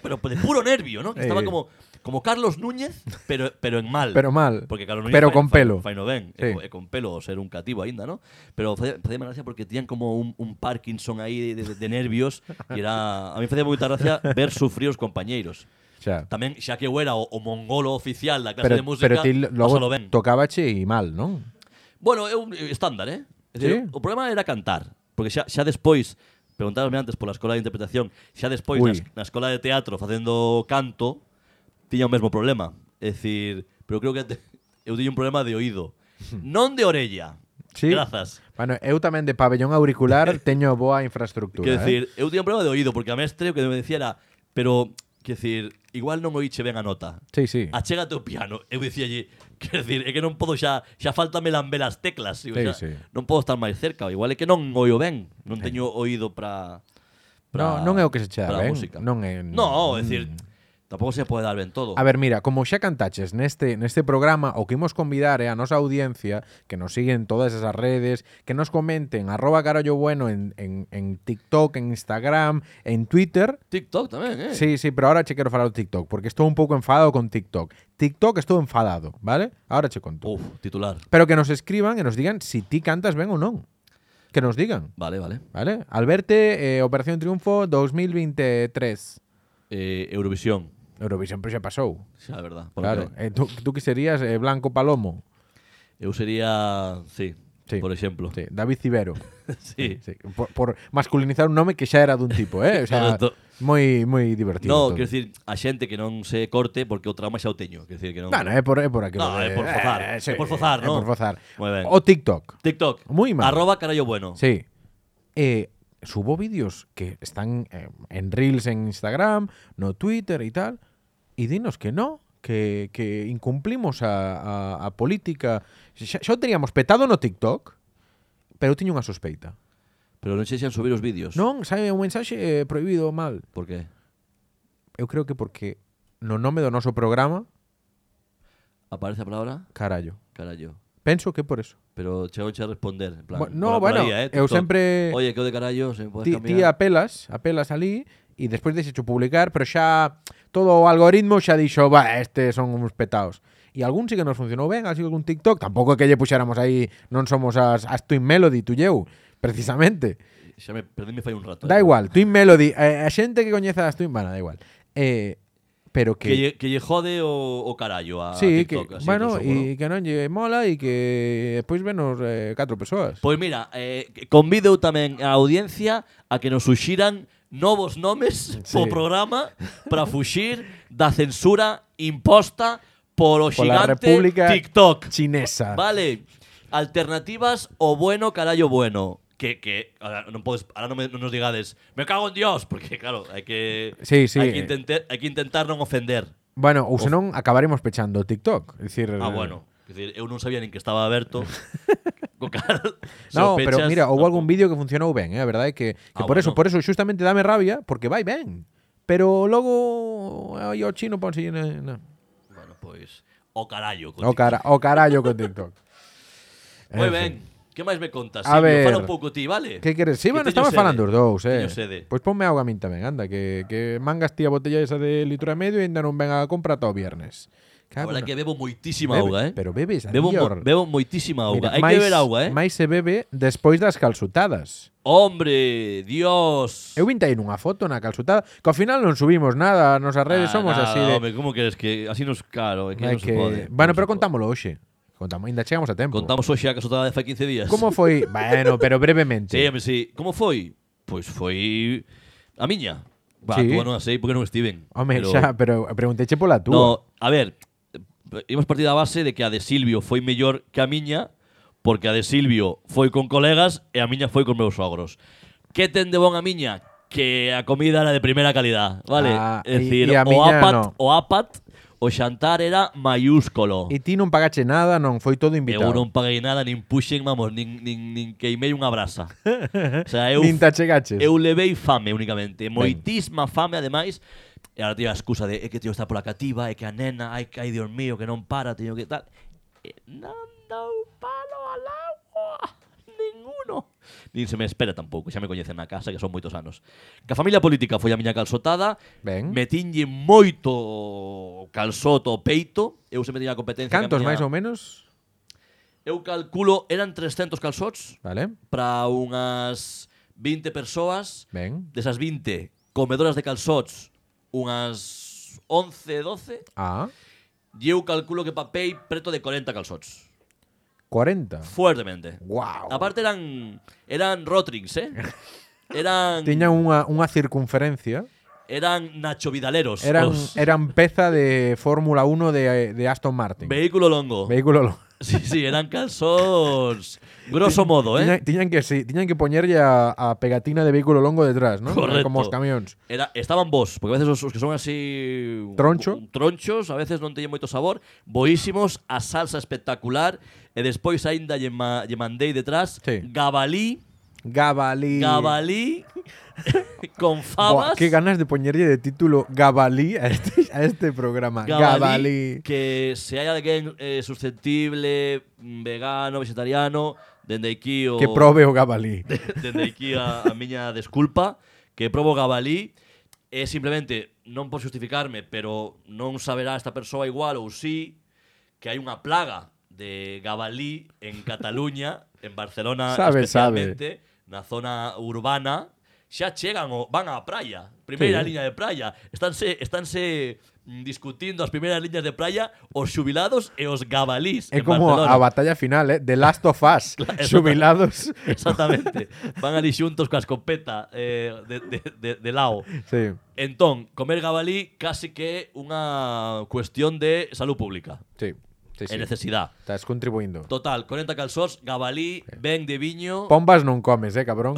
S2: pero de puro nervio, ¿no? Que
S1: Eh.
S2: estaba como como Carlos Núñez, pero pero en mal.
S1: Pero mal.
S2: Porque Carlos Núñez
S1: Pero
S2: fai-
S1: con
S2: fai-
S1: pelo.
S2: fai no ben,
S1: Sí.
S2: e, co- e con pelo o ser un cativo aínda, ¿no? Pero facía facíame gracia porque tiñan como un, un Parkinson aí de, de, de nervios e era a mí facía moita gracia ver sufrir os compañeiros.
S1: Xa.
S2: Tamén xa que eu era o, o mongolo oficial da clase
S1: Pero,
S2: de música,
S1: pero ti
S2: pásalo
S1: logo
S2: ben.
S1: tocábache e mal, non?
S2: Bueno, é un é estándar, eh? É
S1: Sí.
S2: dicir, O problema era cantar, porque xa, xa despois, preguntáronme antes pola escola de interpretación, xa despois
S1: Ui.
S2: na, na escola de teatro facendo canto, tiña o mesmo problema. É dicir, pero creo que te, eu tiña un problema de oído, non de orella.
S1: Hmm. Sí.
S2: Grazas.
S1: Bueno, eu tamén de pabellón auricular teño boa
S2: Quero
S1: infraestructura. eh?
S2: dicir, eu tiña un problema de oído, porque a mestre o que me decía era, pero, quero dicir, igual non oíche ben a nota.
S1: eh? Sí, sí.
S2: achégate o piano. Eu dicía allí, quero dicir, é que non podo xa, xa faltame lambe las teclas. Digo,
S1: Sí,
S2: xa,
S1: sí.
S2: Non podo estar máis cerca, igual é que non oio ben, non teño oído para
S1: No, non é o que se che dá
S2: para a
S1: ben,
S2: música.
S1: non é- mm.
S2: No, é dicir, tampouco se pode dar ben todo.
S1: A ver, mira, como xa cantaches neste neste programa, o que imos convidar é a nosa audiencia que nos siguen todas esas redes, que nos comenten arroba carollo bueno en, en, en TikTok, en Instagram, en Twitter.
S2: TikTok tamén, eh?
S1: Sí, sí, pero ahora che quero falar do TikTok, porque estou un pouco enfadado con TikTok. TikTok estou enfadado, vale? Ahora che conto.
S2: Uf, titular.
S1: Pero que nos escriban e nos digan si ti cantas ben ou non. Que nos digan,
S2: Vale, vale.
S1: vale? Alberte, eh, Operación Triunfo 2023.
S2: Eh, Eurovisión,
S1: Eurovisión, pero xa pasou.
S2: xa, é verdad. Bueno,
S1: pues, Claro.
S2: que-
S1: Eh, tú, tú que serías eh, Blanco Palomo.
S2: Eu sería, sí,
S1: Sí.
S2: por exemplo.
S1: Sí, David Cibero.
S2: sí.
S1: Sí, por, por masculinizar un nome que xa era dun tipo, eh? O sea,
S2: Correcto.
S1: moi moi divertido.
S2: No,
S1: todo.
S2: quero dicir, a xente que non se corte porque o trauma xa o teño, quero dicir que non.
S1: No, no, é por é por aquí.
S2: No, é por fozar, é por fozar,
S1: É
S2: ¿no?
S1: por fozar.
S2: Moi ben.
S1: O TikTok.
S2: TikTok.
S1: Muy mal.
S2: Arroba carallo bueno.
S1: Sí. Eh, subo vídeos que están eh, en Reels en Instagram, no Twitter y tal, y dinos que no, que, que incumplimos a, a, a política. Xa, xa o teníamos petado no TikTok, pero eu tiño unha sospeita.
S2: Pero non sei se han subir os vídeos.
S1: Non, sabe un mensaxe eh, prohibido mal.
S2: Por qué?
S1: Eu creo que porque no nome do noso programa
S2: aparece a palabra
S1: Carallo.
S2: carallo.
S1: Penso que por eso.
S2: Pero chegou a responder, en plan.
S1: Bu- no, bueno, eu
S2: ¿eh? tonto.
S1: sempre-
S2: Oye, que o de carallo, se me podes
S1: Ti,
S2: cambiar.
S1: ti apelas, apelas ali e despois deixecho publicar, pero xa todo o algoritmo xa dixo, va, este son uns petaos. E algún sí que nos funcionou ben, así algún TikTok, tampouco é que lle puxéramos aí, non somos as, as Twin Melody, tu eu, precisamente.
S2: Xa me perdí me fai un rato.
S1: Da
S2: eh.
S1: igual, Twin Melody, eh, a xente que coñeza as Twin, bueno, da igual. Eh, pero
S2: Que,
S1: que...
S2: lle, que lle jode o, o carallo a
S1: sí,
S2: TikTok.
S1: que,
S2: así,
S1: bueno,
S2: grosso modo.
S1: e que non lle mola e que despois venos eh, catro persoas.
S2: Pois mira, eh, convido tamén a audiencia a que nos suxiran novos nomes
S1: Sí.
S2: po programa para fuxir da censura imposta polo
S1: Pola
S2: xigante
S1: República
S2: TikTok.
S1: Chinesa.
S2: Vale, alternativas o bueno carallo bueno. Que, que ahora non podes, ahora non, me, non nos digades, me cago en Dios, porque claro, hai que
S1: Sí, sí,
S2: hai que
S1: eh.
S2: intentar, hai que intentar non ofender.
S1: Bueno, ou senón acabaremos pechando o TikTok. É Dicir,
S2: Ah, bueno. Quer Decir, eu non sabía nin que estaba aberto. Co cal,
S1: No, pero
S2: sospechas,
S1: mira, houve
S2: tampouco.
S1: algún vídeo que funcionou ben, eh, a verdade é que, que
S2: Ah,
S1: por eso,
S2: bueno.
S1: por eso justamente dame rabia porque vai ben. Pero logo aí o chino ponse no, no.
S2: Bueno, pois o carallo.
S1: O cara, o carallo con TikTok.
S2: Moi
S1: En
S2: ben. Que máis me contas?
S1: A
S2: Silvio?
S1: ver.
S2: Fala un pouco ti, vale?
S1: Que queres? Sí,
S2: Que
S1: bueno,
S2: teño
S1: estamos
S2: sede.
S1: falando os dous, eh.
S2: Teño sede.
S1: Pois ponme auga a min tamén, anda, que, que mangas ti a botella esa de litro e medio e ainda non ven a compra ata o viernes.
S2: A
S1: na-
S2: verdade que bebo
S1: ah,
S2: moitísima
S1: pues, Bebe-
S2: auga, eh?
S1: Pero bebes a
S2: bebo, mo-
S1: dior.
S2: bebo moitísima auga.
S1: Mira,
S2: Hai que beber auga, eh?
S1: Mais se bebe despois das calzutadas.
S2: Hombre, Dios.
S1: Eu vinte aí nunha foto na calzutada Que ao final non subimos nada Nos as redes
S2: Ah,
S1: somos
S2: nada,
S1: así de
S2: Home, como queres que así nos caro, é que
S1: Ai,
S2: non se pode.
S1: Bueno, pero
S2: non se pode.
S1: contámoslo hoxe Contamos, Ainda chegamos a tempo
S2: Contamos hoxe a casotada de fai 15 días.
S1: Como foi? bueno, pero brevemente
S2: Sí, home, sí. Como foi? Pois foi Pues a miña. Va,
S1: Sí.
S2: tú non a sei porque non estiven.
S1: Home, xa, pero pregunteche pola túa
S2: No, a ver, eh, imos partir da base de que a de Silvio foi mellor que a miña, porque a de Silvio foi con colegas e a miña foi con meus sogros. Que ten de bon a miña? Que a comida era de primeira calidá, vale?
S1: Ah,
S2: é
S1: e-
S2: dicir,
S1: e a
S2: o
S1: miña
S2: apat,
S1: no.
S2: o apat, o xantar era maiúscolo.
S1: E ti non pagache nada, non foi todo
S2: Eu
S1: invitado
S2: non paguei nada, nin puxen, vamos, nin, nin, nin queimei unha brasa. o sea, eu
S1: Nin te achegaches
S2: Eu levei fame únicamente, moitísima fame ademais. E agora teño a excusa de é que teño que estar pola cativa, é que a nena, ai, que ai, Dios mío, que non para, teño que tal. Eh, E non dou palo al agua, ninguno. Nin se me espera tampouco, xa me coñecen na casa, que son moitos anos. Que a familia política foi a miña calzotada,
S1: Ben.
S2: metinlle moito calzoto ao peito, eu se tiña a competencia. que a
S1: Cantos
S2: miña-
S1: máis ou menos?
S2: Eu calculo, eran 300 calzots,
S1: Vale,
S2: para unhas 20 persoas.
S1: ben
S2: Desas 20 comedoras de calzots, unhas 11, 12,
S1: Ah,
S2: e eu calculo que papei preto de 40 calzots.
S1: 40
S2: Fuertemente.
S1: Wow
S2: Aparte eran eran rotrings, eh? Eran
S1: Tiña unha, unha circunferencia
S2: eran Nacho Vidaleros.
S1: Eran, er-
S2: os-
S1: eran peza de Fórmula 1 de, de Aston Martin
S2: vehículo longo.
S1: Vehículo lo-
S2: sí, sí, eran calzots. Grosso modo, eh?
S1: Tiñan, tiñan que sí, tiñan que poñerlle a, a pegatina de vehículo longo detrás, ¿no?
S2: Correcto.
S1: Como os camións.
S2: Era, estaban vos, porque a veces os, os que son así
S1: Troncho.
S2: un- tronchos, a veces non teñen moito sabor, boísimos, a salsa espectacular e despois aínda lle, ma, lle mandei detrás
S1: Sí.
S2: gabalí,
S1: Gabalí.
S2: gabalí con
S1: Buah,
S2: fabas.
S1: qué ganas de poñerlle de título Gabalí a este, a este programa. Gabalí.
S2: Que se hai alguén eh, susceptible, mm, vegano, vegetariano, dende aquí o
S1: Que prove o Gabalí.
S2: dende aquí a, a miña desculpa, que probo gabalí, é simplemente, non por justificarme, pero non saberá esta persoa igual ou sí, que hai unha plaga de gabalí en Cataluña, en Barcelona
S1: Sabe,
S2: especialmente, na zona urbana, xa chegan o van á praia, primeira
S1: Sí.
S2: liña de praia, estánse estánse mm, discutindo as primeiras liñas de praia os xubilados e os gabalís
S1: É
S2: en
S1: como
S2: Barcelona.
S1: a batalla final, eh, The Last of Us, xubilados.
S2: Exactamente. Van ali xuntos coa escopeta eh, de, de, de, de lao.
S1: Sí,
S2: Entón, comer gabalí casi que é unha cuestión de salud pública.
S1: sí, sí,
S2: Sí.
S1: sí.
S2: E necesidade.
S1: Estás contribuindo.
S2: Total, 40 calzós, gabalí, ben de viño,
S1: Pombas non comes, eh, cabrón.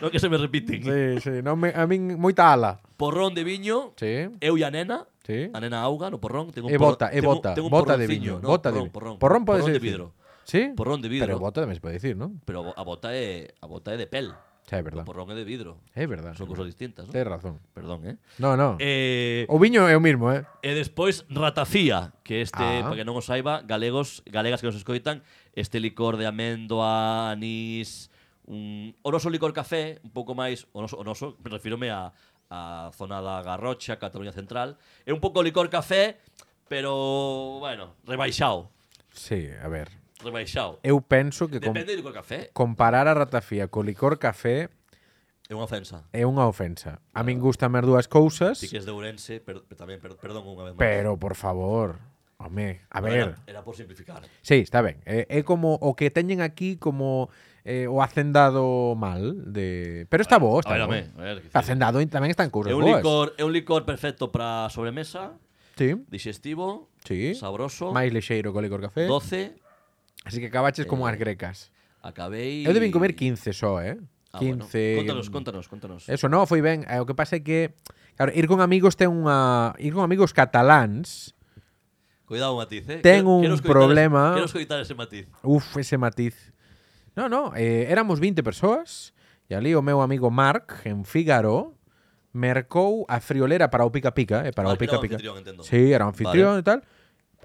S2: non que se me repiten. Sí.
S1: Sí, sí, non me, a min moita ala.
S2: Porrón de viño,
S1: Sí,
S2: eu e a nena,
S1: sí.
S2: a nena auga no porrón, tengo un
S1: E
S2: porrón-
S1: bota, e
S2: tengo-
S1: bota,
S2: tengo un
S1: bota de
S2: porronciño,
S1: viño,
S2: no,
S1: bota de
S2: porrón,
S1: vi-
S2: porrón,
S1: Porrón pode
S2: porrón de
S1: ser-
S2: vidro.
S1: Sí?
S2: Porrón de vidro.
S1: Pero bota tamén se pode decir, ¿no?
S2: Pero a bota é, a bota é de pel.
S1: Xa, é verdade.
S2: O porrón é de vidro.
S1: É verdade.
S2: Son cousas distintas, non?
S1: Tens razón.
S2: Perdón, eh?
S1: No, no.
S2: eh
S1: O viño é o mismo, eh?
S2: E despois ratafía, que este,
S1: Ah.
S2: ah. para que non o saiba, galegos, galegas que nos escoitan, este licor de améndoa, anís, un o noso licor café, un pouco máis, o noso, o noso me refírome a, a zona da Garrocha, Cataluña Central, é un pouco licor café, pero, bueno, rebaixado,
S1: Sí, a ver.
S2: rebaixado.
S1: Eu penso que Eh, com
S2: Depende do licor café,
S1: comparar a ratafía co licor café
S2: é unha ofensa.
S1: é unha ofensa. A min gustan as dúas cousas,
S2: Si que es de Ourense, per, per- tamén, per, perdón unha vez máis.
S1: pero por favor, home, a ver.
S2: Era, era por simplificar.
S1: Sí, está ben. É, é como o que teñen aquí como eh, o hacendado mal de, pero está bo, está bo.
S2: a ver, home, a ver, que
S1: O hacendado in- tamén están cousas
S2: É un
S1: boas.
S2: licor, é un licor perfecto para sobremesa,
S1: Sí,
S2: digestivo,
S1: sí.
S2: sabroso,
S1: Máis lixeiro co licor café.
S2: doce, Eh,
S1: Así que acabaches como as grecas.
S2: acabei...
S1: Eu debín comer 15 só, eh? 15.
S2: Ah, bueno. Contanos, contanos, contanos.
S1: Eso no, foi ben. Eh, O que pasa é que claro, ir con amigos ten unha ir con amigos cataláns,
S2: Cuidado, matiz, eh.
S1: Ten un
S2: Quero escoitar
S1: problema.
S2: ese- Quero escoitar ese matiz.
S1: uf, ese matiz. No, no, eh, éramos 20 persoas e ali o meu amigo Marc en Fígaro mercou a friolera para o pica-pica, eh, para
S2: Ah,
S1: o
S2: que era o
S1: pica-pica.
S2: anfitrión, entendo.
S1: Sí, era o anfitrión e tal.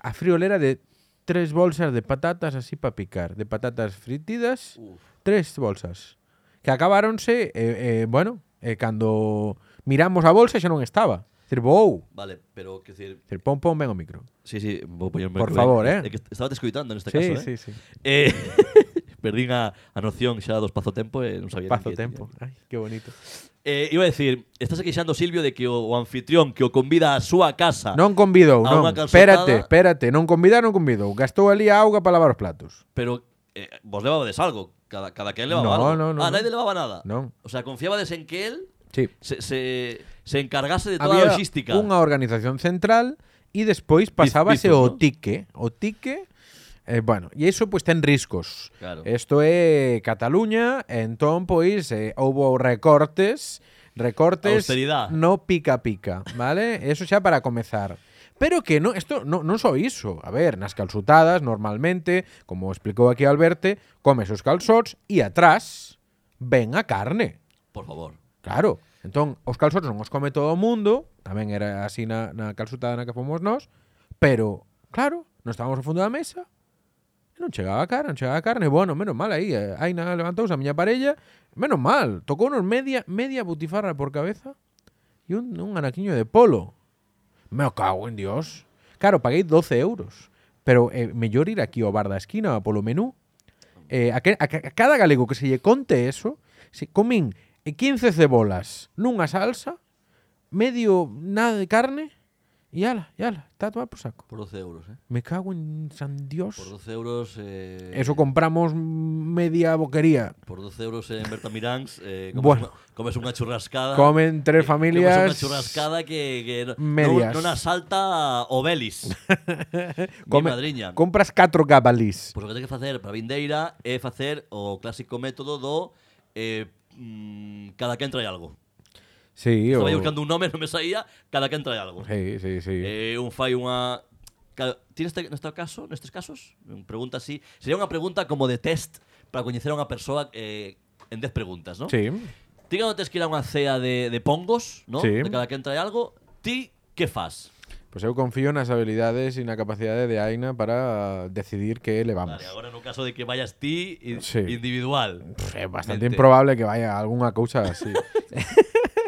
S1: A friolera de tres bolsas de patatas así para picar, de patatas fritidas.
S2: Uf,
S1: tres bolsas que acabáronse, eh, eh, bueno, eh, cando miramos a bolsa xa non estaba. Dicir, vou,
S2: vale, pero, que decir...
S1: dicir, pon, pon, ven o micro. este
S2: Sí, sí, vou poñerme...
S1: Por favor, eh.
S2: É que estaba te escoitando neste
S1: sí,
S2: caso,
S1: sí,
S2: eh.
S1: sí.
S2: Eh, perdín a, a noción xa dos pazotempo e non sabía... nin
S1: Pazo
S2: que
S1: tempo. Ai,
S2: tiña.
S1: que bonito.
S2: Eh, iba a decir, estás queixando Silvio de que o, o anfitrión que o convida á súa casa...
S1: Ah, Non convidou,
S2: a
S1: non.
S2: Ah, unha calzotada.
S1: Espérate, espérate. Non convidar, non convidou. Gastou ali a auga para lavar os platos.
S2: Pero eh, vos levabades algo. Cada, cada quen levaba
S1: No,
S2: algo.
S1: no, no,
S2: ah,
S1: no.
S2: nadie levaba nada.
S1: Non.
S2: O sea, confiabades en que él
S1: Sí.
S2: se, se, se encargase de toda
S1: Había
S2: a logística.
S1: unha organización central e despois pasábase
S2: Biz-
S1: o
S2: bizos, ¿no?
S1: tique. E, O tique Eh, bueno, e iso pois ten riscos.
S2: Claro.
S1: Isto é Cataluña, e entón pois eh, houbo recortes, recortes
S2: Austeridade.
S1: no pica pica, vale? Eso xa para comezar. Pero que no, isto no, non só iso. A ver, nas calzutadas normalmente, como explicou aquí Alberto, comes os calzots e atrás ven a carne.
S2: Por favor.
S1: Claro. Entón, os calzots non os come todo o mundo, tamén era así na, na calzutada na que fomos nós, pero, claro, non estábamos ao fondo da mesa, e non chegaba a carne, non chegaba a carne, bueno, menos mal aí, eh, Aina levantouse a miña parella, menos mal, tocou nos media, media butifarra por cabeza e un, un anaquiño de polo. Me cago en Dios. Claro, paguei 12 euros, pero eh, mellor ir aquí ao bar da esquina polo menú, Eh, a, que- a ca- a cada galego que se lle conte eso, se comín eh, 15 cebolas nunha salsa, medio nada de carne, e ala, e ala, está a tomar por saco.
S2: Por 12 euros, ¿eh?
S1: Me cago en San Dios.
S2: Por 12 euros. Eh,
S1: Eso compramos media boquería.
S2: Por 12 euros en Berta Miráns. Eh, comes,
S1: Bueno.
S2: una, comes una churrascada.
S1: Comen tres
S2: eh, comes Una
S1: familias.
S2: churrascada que, que no-
S1: medias.
S2: no, no asalta Obelis. Mi
S1: come-
S2: madriña.
S1: Compras 4 gabalís.
S2: Pois o que ten que facer para Vindeira é facer o clásico método do eh, mm, cada que entra algo.
S1: Sí, o...
S2: Estaba eu buscando un nome, non me saía, cada que entra algo.
S1: Sí, sí, sí.
S2: Eh, un fai unha Claro, ti neste, neste este, caso, nestes casos, un pregunta así, sería unha pregunta como de test para coñecer a unha persoa eh, en 10 preguntas, non?
S1: Sí.
S2: Ti cando tes que ir a unha cea de, de pongos, non?
S1: Sí.
S2: De cada que entra algo, ti que faz?
S1: Pois eu confío nas habilidades e na capacidade de Aina para decidir que levamos.
S2: Vale, agora no caso de que vayas ti in-
S1: Pues Sí.
S2: individual.
S1: Pff, É bastante
S2: Mente.
S1: improbable que vaya alguna cousa así.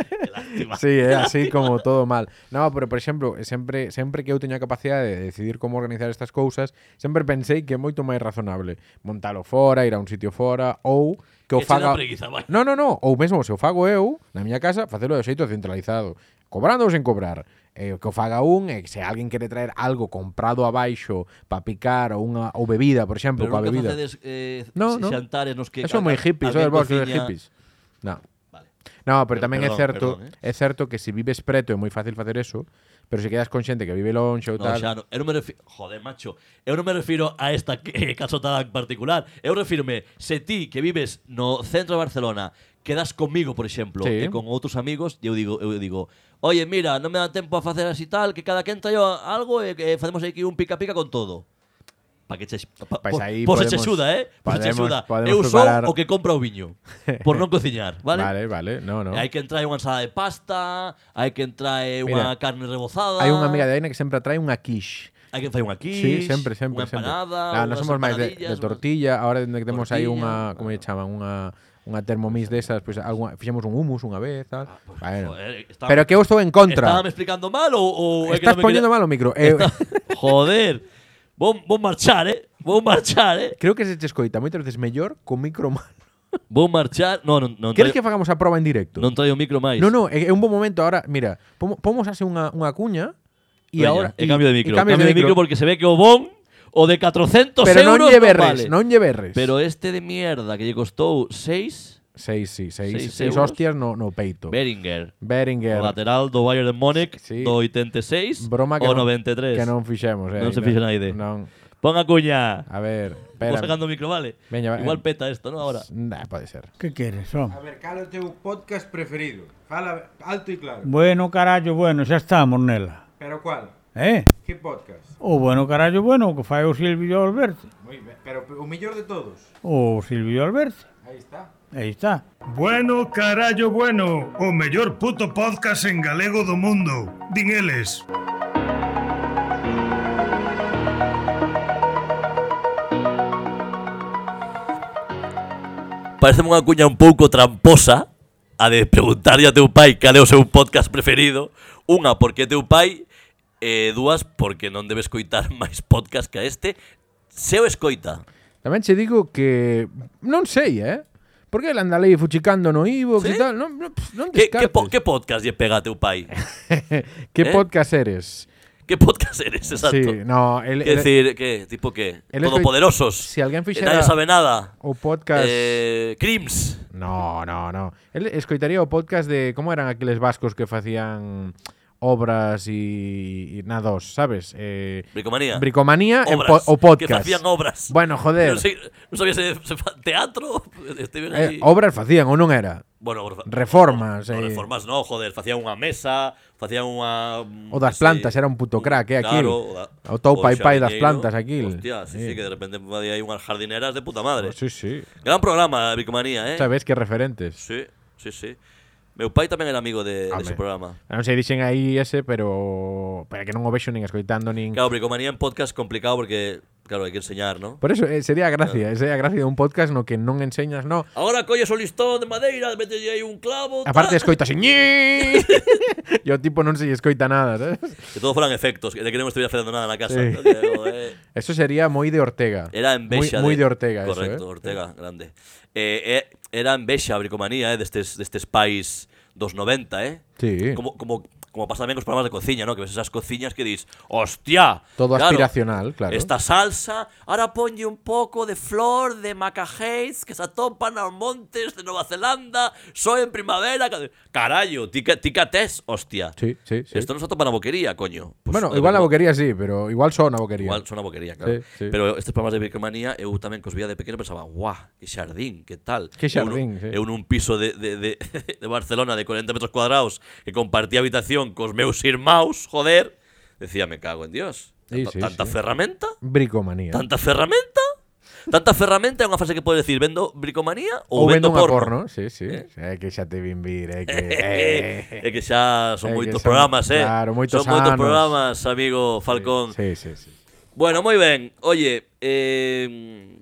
S2: Qué lástima.
S1: Sí, é así como todo mal. No, pero por exemplo, sempre sempre que eu teña capacidade de decidir como organizar estas cousas, sempre pensei que é moito máis razonable montalo fora, ir a un sitio fora ou que o
S2: Que che dá
S1: faga
S2: preguiza, vai.
S1: No, no, no, ou mesmo se o fago eu na miña casa, facelo de xeito centralizado, cobrando ou sen cobrar. Eh, que o faga un, e se alguén quere traer algo comprado abaixo para picar ou unha ou bebida, por exemplo,
S2: Pero
S1: coa
S2: nunca
S1: bebida.
S2: facedes eh,
S1: No,
S2: no,
S1: no.
S2: xantares nos que...
S1: Eso é moi
S2: ca-
S1: hippie,
S2: alguén
S1: sabes vos, que é
S2: cociña-
S1: hippies. No.
S2: Vale.
S1: No, pero
S2: Per-
S1: tamén é
S2: perdón,
S1: certo,
S2: perdón, ¿eh?
S1: é certo que se vives preto é moi fácil facer eso, pero se quedas con xente que vive lonxe ou
S2: No,
S1: tal.
S2: xa non. Eu non me refiro... Joder, macho. Eu non me refiro a esta eh, casotada en particular. Eu refirme, se ti que vives no centro de Barcelona quedas comigo, por exemplo,
S1: Sí.
S2: e con outros amigos, e eu digo, eu digo, oye, mira, non eh, me dá tempo a facer así tal, que cada quen traio algo e, e facemos aquí un pica-pica con todo. para que che, pa,
S1: Pois
S2: po-
S1: aí
S2: po se
S1: Pues
S2: che
S1: podemos-
S2: xuda, eh? Po se che
S1: podemos-
S2: xuda.
S1: podemos
S2: Eu son
S1: preparar-
S2: o que compra o viño por non cociñar, vale?
S1: Vale, vale, no, no.
S2: E Hai que entrar unha ensalada de pasta, hai que entrar unha
S1: Mira,
S2: carne rebozada.
S1: Hai unha amiga de Aina que sempre trae unha quiche.
S2: Hai que fai unha quiche.
S1: Sí, sempre, sempre,
S2: unha
S1: sempre.
S2: empanada,
S1: Nah, non
S2: unhas
S1: somos máis de, de
S2: empanadillas, unhas-
S1: tortilla, ahora temos aí unha,
S2: Tortilla,
S1: como lle chaman, unha unha Thermomix desas, pois algunha, pues, fixemos un hummus unha vez, tal. bueno.
S2: Ah, pues, Joder, está-
S1: Pero que eu estou en contra.
S2: Estábame explicando mal ou, ou é que
S1: Estás
S2: non me quería-
S1: poñendo mal o micro. Eh,
S2: Joder. Vou, vou marchar, eh? Vou marchar, eh?
S1: creo que se che escoita moitas veces mellor co micro mal.
S2: Vou marchar. No, non, non,
S1: Queres que
S2: traio,
S1: fagamos a proba en directo?
S2: non traio o micro máis.
S1: No, no, é é un bom momento ahora. Mira, pomo- pomos así unha, unha cuña e
S2: Veña,
S1: ahora...
S2: e
S1: e-
S2: cambio de
S1: e
S2: micro.
S1: cambias
S2: Cambio de micro porque se ve que o bon o de 400
S1: Pero
S2: euros
S1: non lle berres,
S2: vale.
S1: non lle berres.
S2: Pero este de mierda que lle costou 6
S1: Seis, sí, seis,
S2: Seis
S1: seis,
S2: euros.
S1: hostias no, no peito.
S2: Beringer, o
S1: Beringer.
S2: lateral do Bayern de Múnich
S1: Sí.
S2: do 86
S1: Broma que
S2: o
S1: non-
S2: 93.
S1: Que non fixemos, eh.
S2: Non se
S1: ainda.
S2: fixo naide.
S1: Non.
S2: Pon a cuña.
S1: A ver,
S2: Vou
S1: espera.
S2: sacando o micro, vale?
S1: Veña, va,
S2: Igual
S1: eh.
S2: peta esto, ¿no? Ahora.
S1: Nah, pode ser.
S4: ¿Qué quieres, hom?
S5: A ver, cal é o teu podcast preferido? Fala alto e claro.
S4: Bueno, carallo, bueno, xa estamos nela.
S5: Pero cual?
S4: Eh?
S5: Que podcast?
S4: O bueno, carallo, bueno, o que fai o Silvio Alberti.
S5: Moi ben, pero o mellor de todos.
S4: O Silvio Alberti.
S5: Aí está.
S4: Aí está.
S3: Bueno, carallo bueno, o mellor puto podcast en galego do mundo. Din eles.
S2: Parece unha cuña un pouco tramposa a de preguntarlle a teu pai cal é o seu podcast preferido. Unha, porque é teu pai, e dúas, porque non debes coitar máis podcast que a este. Se o escoita.
S1: Tamén che digo que non sei, eh. Por que anda lei fuchicando no Ivo
S2: Sí?
S1: e tal? Non, non, pff, non
S2: Que,
S1: descartes.
S2: que, po, que podcast lle pega a teu pai?
S1: que
S2: eh?
S1: podcast eres?
S2: Que podcast eres, exacto?
S1: Sí, no, el,
S2: Que
S1: el-
S2: decir, que tipo que
S1: Él es
S2: Todopoderosos.
S1: si alguén
S2: que
S1: fixera
S2: nadie sabe nada.
S1: o podcast
S2: Eh, crims.
S1: No, no, no. El escoitaría o podcast de como eran aqueles vascos que facían obras e, e na dos, sabes? Eh,
S2: Bricomanía.
S1: bricomanía en po-
S2: obras,
S1: o podcast.
S2: Que facían obras.
S1: Bueno, joder.
S2: Non, sei, non sabía se, se fa teatro. Estiven
S1: Eh,
S2: aí.
S1: obras facían ou non era?
S2: bueno, por fa-
S1: reformas,
S2: No,
S1: eh.
S2: reformas, no, joder. Facían unha mesa, facían unha... mm,
S1: O das
S2: que sei,
S1: plantas, era un puto crack, eh, aquil.
S2: Claro, da-
S1: O teu
S2: o
S1: pai pai das
S2: xardiñeiro.
S1: plantas, aquil.
S2: Hostia, sí, sí,
S1: Sí. Pues
S2: que de repente había aí unhas jardineras de puta madre.
S1: Sí, sí.
S2: Gran programa, Bricomanía, eh?
S1: Sabes que referentes.
S2: Sí, sí, sí. Meu pai tamén era amigo de,
S1: Home.
S2: dese programa.
S1: Non sei dixen aí ese, pero para que non o vexo nin escoitando nin
S2: Claro, bricomanía en podcast complicado porque, claro, hai que enseñar, ¿no?
S1: Por eso eh, sería a gracia, sería a gracia de un podcast no que non enseñas, no.
S2: Agora colles o listón de madeira, metelle aí un clavo, tal.
S1: Aparte escoitas e E o tipo non se lle escoita nada, sabes?
S2: que todo foran efectos, que de que non estuviera facendo nada na casa.
S1: Sí.
S2: Pero, eh,
S1: Eso sería moi de Ortega.
S2: era en Bexa.
S1: Moi, moi de Ortega
S2: Correcto,
S1: eso, eh?
S2: Ortega, grande. Eh, eh, era en Bexa a bricomanía, eh, destes, destes pais dos 90, eh?
S1: Sí.
S2: Como, como, como pasa tamén cos programas de cociña, ¿no? Que ves esas cociñas que dis, hostia,
S1: Todo
S2: claro,
S1: aspiracional, claro.
S2: Esta salsa, ahora ponlle un pouco de flor de macajeis que se atopan aos montes de Nova Zelanda, só en primavera. ca- Carallo, ti, ca- ti catés, hostia.
S1: Sí, sí, sí.
S2: Esto non se atopa na boquería, coño. Pues,
S1: bueno,
S2: eh,
S1: igual a
S2: como-
S1: boquería sí, pero igual só na boquería.
S2: Igual son a boquería, claro.
S1: Sí, sí.
S2: Pero estes programas de bicomanía eu tamén cos vía de pequeno pensaba, guau, que xardín, que tal.
S1: Que
S2: Eu
S1: xardín,
S2: nun-
S1: sí.
S2: Eu nun piso de, de, de, de Barcelona de 40 metros cuadrados que compartía habitación cos meus irmãos, joder, decía, me cago en Dios.
S1: Sí,
S2: Tanta,
S1: sí,
S2: tanta
S1: sí.
S2: ferramenta,
S1: Bricomanía.
S2: tanta ferramenta, tanta ferramenta é unha frase que podes decir, vendo bricomanía ou,
S1: Ou vendo unha
S2: porno.
S1: porno, sí, sí. Eh, que xa te vin vir, eh, que eh.
S2: É que xa
S1: É
S2: son
S1: que
S2: moitos
S1: son-
S2: programas, eh.
S1: claro, moitos
S2: son moitos
S1: anos.
S2: programas, amigo Falcón.
S1: Sí, sí, sí.
S2: Bueno, moi ben. Oye, eh,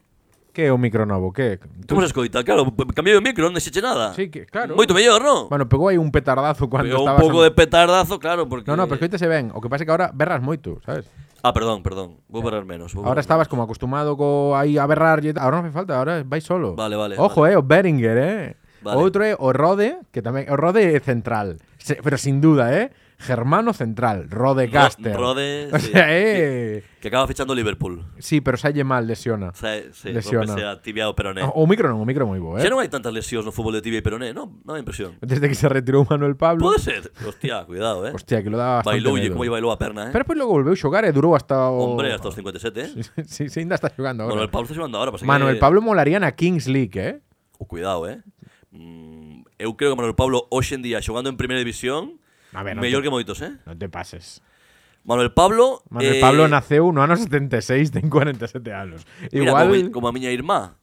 S1: Que é o micro novo, que?
S2: Como se escoita? Claro, p- cambiei o micro, non deixeche nada.
S1: Sí, que- claro.
S2: Moito mellor, non?
S1: Bueno, pegou aí un petardazo cando
S2: Pegou un
S1: estabas
S2: pouco
S1: a-
S2: de petardazo, claro, porque...
S1: No, no, pero escoita se ven. O que pasa é que ahora berras moito, sabes?
S2: Ah, perdón, perdón. Vou parar menos. Vou
S1: Ahora
S2: parar
S1: estabas como acostumado co aí a berrar e tal. Ahora non fai falta, ahora vai solo.
S2: Vale, vale,
S1: Ojo, eh, o Beringer, eh.
S2: Vale.
S1: Outro é o Rode, que tamén o Rode é central, Se- pero sin duda, eh. Germano central, Rode
S2: Ro-
S1: Caster.
S2: Rode,
S1: o
S2: sí.
S1: sea, eh.
S2: menos. Que acaba fichando o Liverpool.
S1: Sí, pero salle mal lesiona.
S2: O sea, sí,
S1: Lesiona. Ah, oh,
S2: rompese a tibia o peroné.
S1: O, o micro non, o micro moi bo, eh.
S2: Xa non hai tantas lesións no fútbol de tibia e peroné, non? Non dá impresión.
S1: Desde que se retirou Manuel Pablo.
S2: Pode ser. Hostia, cuidado, eh.
S1: Hostia, que lo daba bastante medo.
S2: Bailoulle, como lle bailou a perna, eh.
S1: Pero pois logo volveu xogar e durou hasta o
S2: Hombre, hasta os 57, eh.
S1: Sí, sí, ainda está xogando
S2: Bueno,
S1: agora.
S2: el Pablo está xogando ahora, pasa que...
S1: Manuel Pablo molaría na Kings League, eh.
S2: O cuidado, eh. Mm, eu creo que Manuel Pablo hoxe en día xogando en primeira división,
S1: A ver, non
S2: mellor
S1: te-
S2: que moitos, eh.
S1: Non te pases.
S2: Manuel Pablo...
S1: Manuel
S2: eh,
S1: Pablo naceu no ano 76, ten 47 anos.
S2: Mira,
S1: Igual
S2: como, mi- como a miña irmá.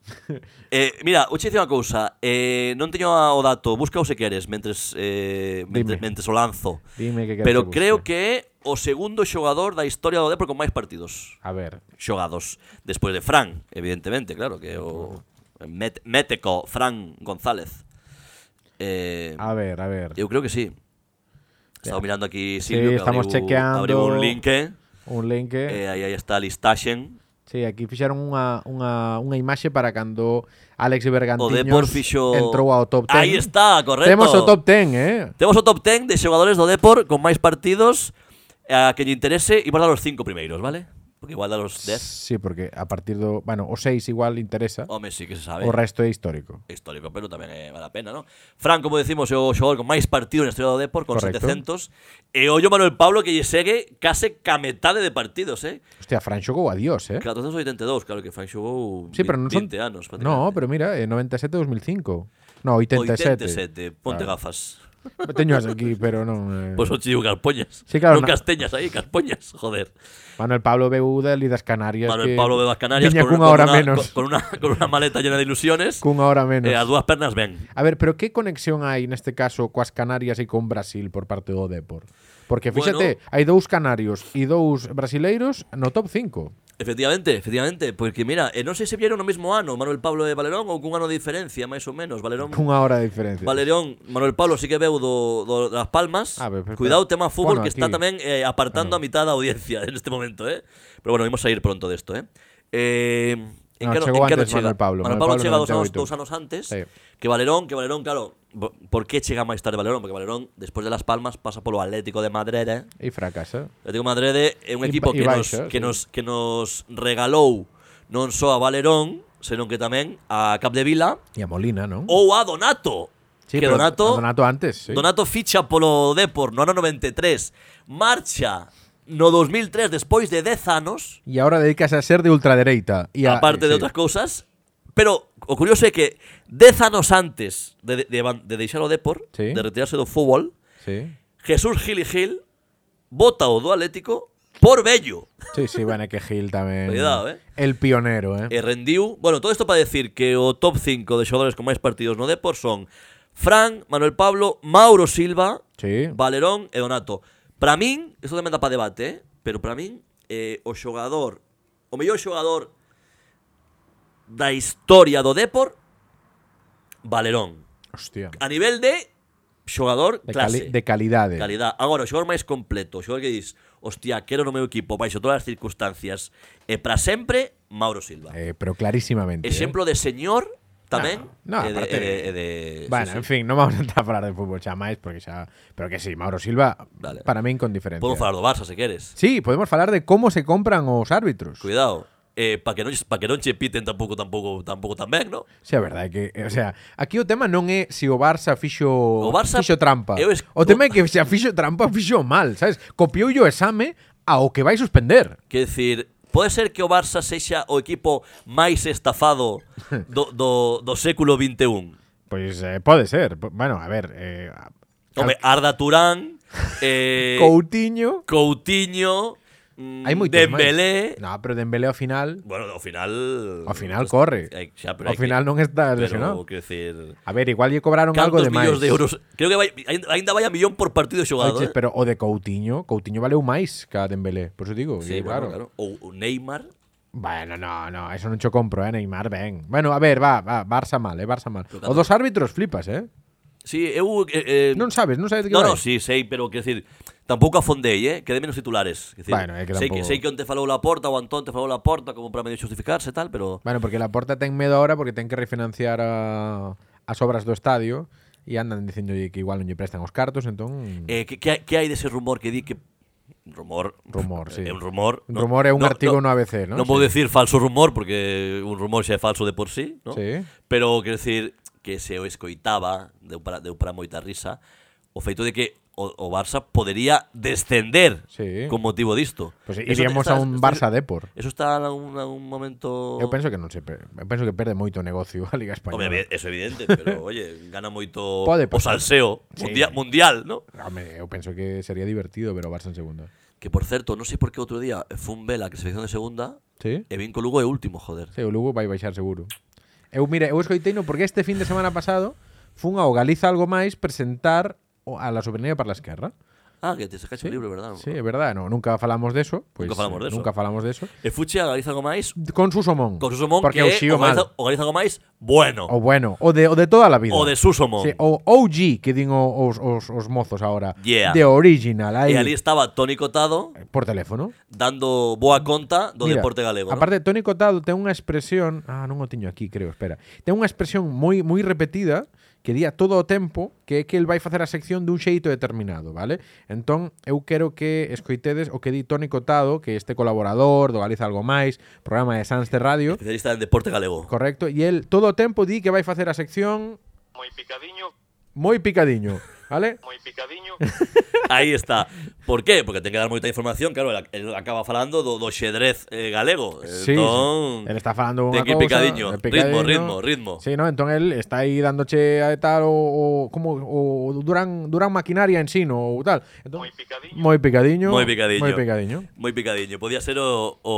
S2: eh, mira, vou che dicir unha cousa. Eh, non teño a- o dato, búscao se queres, mentres, eh, mentres,
S1: Dime.
S2: mentres o lanzo.
S1: Dime que queres
S2: Pero
S1: que
S2: creo
S1: busque.
S2: que é o segundo xogador da historia do Depor con máis partidos
S1: A ver,
S2: xogados. Despois de Fran, evidentemente, claro, que é o met, méteco Fran González. Eh,
S1: a ver, a ver.
S2: eu creo que sí. Estaba mirando aquí Silvio, que
S1: estamos
S2: abriu-
S1: chequeando.
S2: abriu un link, eh,
S1: Un link.
S2: eh, aí, aí está a listaxen.
S1: Sí, aquí fixaron unha, unha, unha imaxe para cando Alex Bergantiños
S2: O Depor fixo...
S1: entrou ao top 10.
S2: Aí está, correcto.
S1: Temos o top 10, eh?
S2: Temos o top 10 de xogadores do Depor con máis partidos a que lle interese e dar os 5 primeiros, vale? Porque igual dar os 10.
S1: Sí, porque a partir do, bueno, o 6 igual interesa,
S2: Home, sí que se sabe.
S1: o resto é histórico.
S2: É histórico, pero tamén é, vale a pena, non? Fran, como decimos, é o xogador con máis partidos na historia do Depor, con
S1: Correcto.
S2: 700. E ollo Manuel Pablo que lle segue case ca metade de partidos, eh?
S1: Hostia, Fran xogou a Dios, eh?
S2: 482, claro que Fran xogou
S1: Sí, pero non son
S2: 20 anos.
S1: No, pero mira, eh, 97 2005. No, 87.
S2: 87, ponte
S1: Claro.
S2: gafas.
S1: Teñoas aquí, pero non. Eh.
S2: Pois pues, chiu carpoñas.
S1: Sí, claro,
S2: non
S1: na-
S2: casteñas aí, carpoñas, joder.
S1: Manuel Pablo veu da Lidas Canarias.
S2: Manuel
S1: que
S2: Pablo de las Canarias
S1: viña
S2: con,
S1: cunha
S2: con
S1: hora
S2: una,
S1: menos.
S2: Con, con una, con una maleta llena de ilusiones.
S1: Cunha hora menos.
S2: eh, a dos pernas ven.
S1: A ver, pero que conexión hai neste caso coas Canarias e con Brasil por parte do Depor? Porque fíxate,
S2: Bueno.
S1: hai dous canarios e dous brasileiros no top 5.
S2: Efectivamente, efectivamente. Porque mira, eh, non sei se vieron no mismo ano Manuel Pablo de Valerón ou cun ano de diferencia, máis ou menos. Valerón,
S1: Cunha hora de diferencia.
S2: Valerón Manuel Pablo sí que veu do, do das Palmas.
S1: A ver, pero-
S2: Cuidado tema fútbol
S1: pues, Bueno,
S2: que está
S1: aquí.
S2: tamén eh, apartando a mitad da audiencia en este momento, eh. Pero bueno, vamos a ir pronto de esto, eh. Eh, en
S1: No,
S2: que ano-
S1: chegou
S2: en que ano
S1: antes Manuel Pablo.
S2: Manuel Pablo
S1: Manuel
S2: chega
S1: Pablo
S2: dos anos,
S1: 98.
S2: dos anos antes
S1: Sí.
S2: que Valerón, que Valerón, claro, bo- por que chega máis tarde Valerón? Porque Valerón, despois de Las Palmas, pasa polo Atlético de Madrid, eh.
S1: E fracasa.
S2: Atlético de Madrid é un
S1: E
S2: equipo
S1: ba- e
S2: que, nos,
S1: baixa,
S2: que,
S1: sí.
S2: nos, que nos regalou non só a Valerón, senón que tamén a Capdevila
S1: E a Molina, non?
S2: ou a Donato. Oh, que
S1: pero a
S2: Donato,
S1: Donato antes, sí.
S2: Donato ficha polo Depor no ano 93, marcha no 2003 despois de 10 anos,
S1: E agora dedicas a ser de ultradereita. E a,
S2: aparte de
S1: sí.
S2: outras cousas, pero o curioso é que 10 anos antes de, de, de, ban- de deixar o Depor,
S1: Sí.
S2: de retirarse do fútbol,
S1: Sí.
S2: Jesús Gil y Gil vota o do Atlético por Bello.
S1: Sí, sí, bueno, é que Gil tamén.
S2: Cuidado, eh.
S1: El pionero, eh.
S2: E rendiu... Bueno, todo isto para decir que o top 5 de xogadores con máis partidos no Depor son Fran, Manuel Pablo, Mauro Silva,
S1: Sí.
S2: Valerón e Donato. Para min, isto tamén dá para debate, eh? pero para min, eh, o xogador, o mellor xogador da historia do Depor, Valerón.
S1: Hostia.
S2: A nivel de xogador
S1: De,
S2: clase.
S1: cali de calidade.
S2: Calidad. Agora, o xogador máis completo, o xogador que dis, hostia, quero no meu equipo, baixo todas as circunstancias, e para sempre, Mauro Silva.
S1: Eh, pero clarísimamente.
S2: Exemplo de señor tamén
S1: No, no,
S2: e de,
S1: aparte
S2: e de,
S1: de-
S2: e de sí,
S1: Bueno,
S2: sí.
S1: en fin, non vamos a entrar a falar de fútbol xa máis porque xa, pero que sí, Mauro Silva
S2: Vale.
S1: para min con diferencia.
S2: Podemos falar do Barça se queres.
S1: Sí, podemos falar de como se compran os árbitros.
S2: Cuidado. Eh, para que non para que non che piten tampouco tampouco tampouco tan ben, ¿no?
S1: Sí, a verdade que, o sea, aquí o tema non é se o Barça fixo
S2: O Barça-
S1: fixo trampa.
S2: eu es-
S1: O tema é que se a fixo trampa fixo mal, sabes? Copiou o exame ao que vai suspender.
S2: Quer decir, pode ser que o Barça sexa o equipo máis estafado do, do, do século 21.
S1: Pois eh, pode ser. Po- Bueno, a ver, eh,
S2: Home, Arda Turán, eh,
S1: Coutinho,
S2: Coutinho, mm,
S1: hai moitos máis.
S2: Dembélé.
S1: No, pero Dembélé ao final,
S2: Bueno, ao final
S1: ao final corre.
S2: Ai, xa, eh,
S1: Ao
S2: pero hai que-
S1: final non está
S2: pero,
S1: lesionado.
S2: quer decir,
S1: A ver, igual lle cobraron algo de
S2: Cantos
S1: máis.
S2: millóns de euros? Creo que vai, ain- aínda vai a millón por partido xogado.
S1: Oiches,
S2: eh?
S1: pero o de Coutinho, Coutinho valeu máis que a Dembélé, por eso digo,
S2: Sí,
S1: que,
S2: bueno,
S1: claro.
S2: claro. Ou o Neymar.
S1: Bueno, no, no, eso non cho compro, eh, Neymar, ben. Bueno, a ver, va, va, Barça mal, eh, Barça mal. O
S2: Tocando.
S1: dos árbitros flipas, eh.
S2: Sí, eu... Eh, eh,
S1: Non sabes, non sabes de que
S2: no,
S1: vai.
S2: no, sí, sei, pero quer decir, tampouco afondei, eh? Quedé menos titulares. Quer decir,
S1: Bueno, é que
S2: sei,
S1: tampouco-
S2: que, sei que onte falou la porta, o Antón te falou la porta, como para medio justificarse e tal, pero...
S1: Bueno, porque la porta ten medo ahora porque ten que refinanciar a, as obras do estadio e andan dicendolle que igual non lle prestan os cartos, entón
S2: Eh, que, que, hai- que hai dese rumor que di que... Rumor...
S1: Rumor, sí.
S2: É un rumor.
S1: Un rumor é un artigo no
S2: no
S1: ABC, ¿no?
S2: Non vou
S1: Sí.
S2: decir falso rumor, porque un rumor xa é falso de por sí, ¿no?
S1: Sí.
S2: Pero, quero decir, que se o escoitaba, deu para, deu para moita risa, o feito de que o, o Barça podería descender
S1: Sí.
S2: con motivo disto.
S1: Pois
S2: Eso
S1: Pues iríamos a
S2: está-
S1: un
S2: está-
S1: Barça Depor.
S2: Eso está en algún, algún momento...
S1: Eu penso que non se per- eu penso que perde moito negocio a Liga Española.
S2: Hombre, evi- eso é evidente, pero oye, gana moito
S1: Pode
S2: o
S1: pasar.
S2: salseo mundia- mundial, ¿no?
S1: Home, eu penso que sería divertido ver o Barça en segunda.
S2: Que por certo, non sei por que outro día fun vela que selección de segunda
S1: Sí?
S2: e vin que o Lugo é último, joder.
S1: Sí, o Lugo vai baixar seguro. Eu, mira, eu escoiteino porque este fin de semana pasado fun ao Galiza algo máis presentar o- a la soberanía para la esquerra.
S2: Ah, que te sacaste o libro, verdad?
S1: Sí, é verdade, no, nunca falamos deso, pois,
S2: Nunca falamos
S1: eh,
S2: deso.
S1: Nunca falamos deso.
S2: E Fuche organiza algo máis
S1: Con Susomón.
S2: con Susomón
S1: porque o
S2: que
S1: sí o mal.
S2: organiza, organiza algo máis bueno.
S1: O bueno, o de, o de toda la vida.
S2: O de Susomón.
S1: Sí, o OG que din o- os, os, os mozos ahora.
S2: Yeah.
S1: De original, ahí,
S2: E ali estaba Toni Cotado
S1: por teléfono.
S2: dando boa conta do
S1: Mira,
S2: deporte galego. ¿no?
S1: Aparte, Toni Cotado ten unha expresión, ah, non o tiño aquí, creo, espera. Ten unha expresión moi moi repetida que di a todo o tempo que é que el vai facer a sección dun xeito determinado, vale? Entón, eu quero que escoitedes o que di Toni Cotado, que este colaborador do Galiza Algo Máis, programa de Sans de Radio,
S2: especialista en deporte galego.
S1: correcto, e el todo o tempo di que vai facer a sección
S6: Moi picadiño,
S1: moi picadiño, vale?
S6: moi picadiño.
S2: Aí está. Por qué? Porque ten que dar moita información, claro, el, el acaba falando do, do xedrez eh, galego.
S1: Sí,
S2: entón,
S1: sí. Él está falando unha
S2: ten que ir
S1: cousa,
S2: picadiño.
S1: eh,
S2: Ritmo, ritmo, ritmo.
S1: Sí, no, entón él está aí dándoche a tal o, o como o Durán Durán maquinaria en sino ou tal. Entón,
S6: Moi picadiño.
S1: Moi picadiño.
S2: Moi picadiño.
S1: Moi picadiño.
S2: Moi picadiño. Podía ser o, o,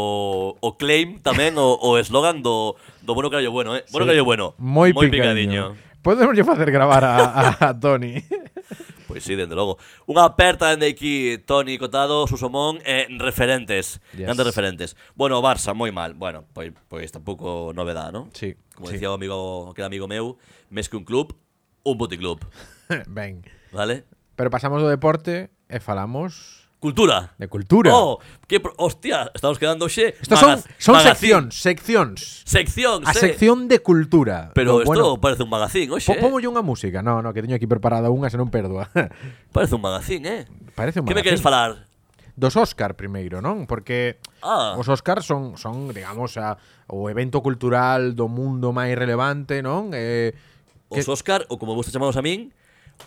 S2: o claim tamén, o, o eslogan do, do bueno carallo bueno, eh? Bueno carallo bueno.
S1: Moi picadiño. Podemos lle facer gravar a, a, a Tony.
S2: Pois Pues sí, dende logo. Unha aperta dende aquí, Toni Cotado, Susomón, eh, referentes.
S1: Yes.
S2: Grandes referentes. Bueno, o Barça, moi mal. Bueno, pues, pois, pois tampouco novedade, non?
S1: Sí,
S2: Como
S1: sí.
S2: decía o amigo, que era amigo meu, mes que un club, un boticlub.
S1: ben.
S2: Vale?
S1: Pero pasamos do deporte e falamos
S2: Cultura.
S1: de cultura.
S2: Oh, que pro- hostia, estamos quedando xe.
S1: Estos son,
S2: magaz-
S1: son
S2: magazín.
S1: seccións, seccións.
S2: Sección,
S1: A
S2: sí.
S1: sección de cultura.
S2: Pero
S1: No,
S2: isto parece un magazín, oxe.
S1: po- pómolle unha música. No, no, que teño aquí preparada unha, se non perdoa.
S2: Parece un magazín, eh.
S1: Parece un
S2: Que me
S1: magazín.
S2: queres falar?
S1: dos Óscar primeiro, non? Porque
S2: Ah.
S1: os Óscar son son, digamos, a, o evento cultural do mundo máis relevante, non? Eh, que,
S2: Os Óscar, ou como vos chamados a min,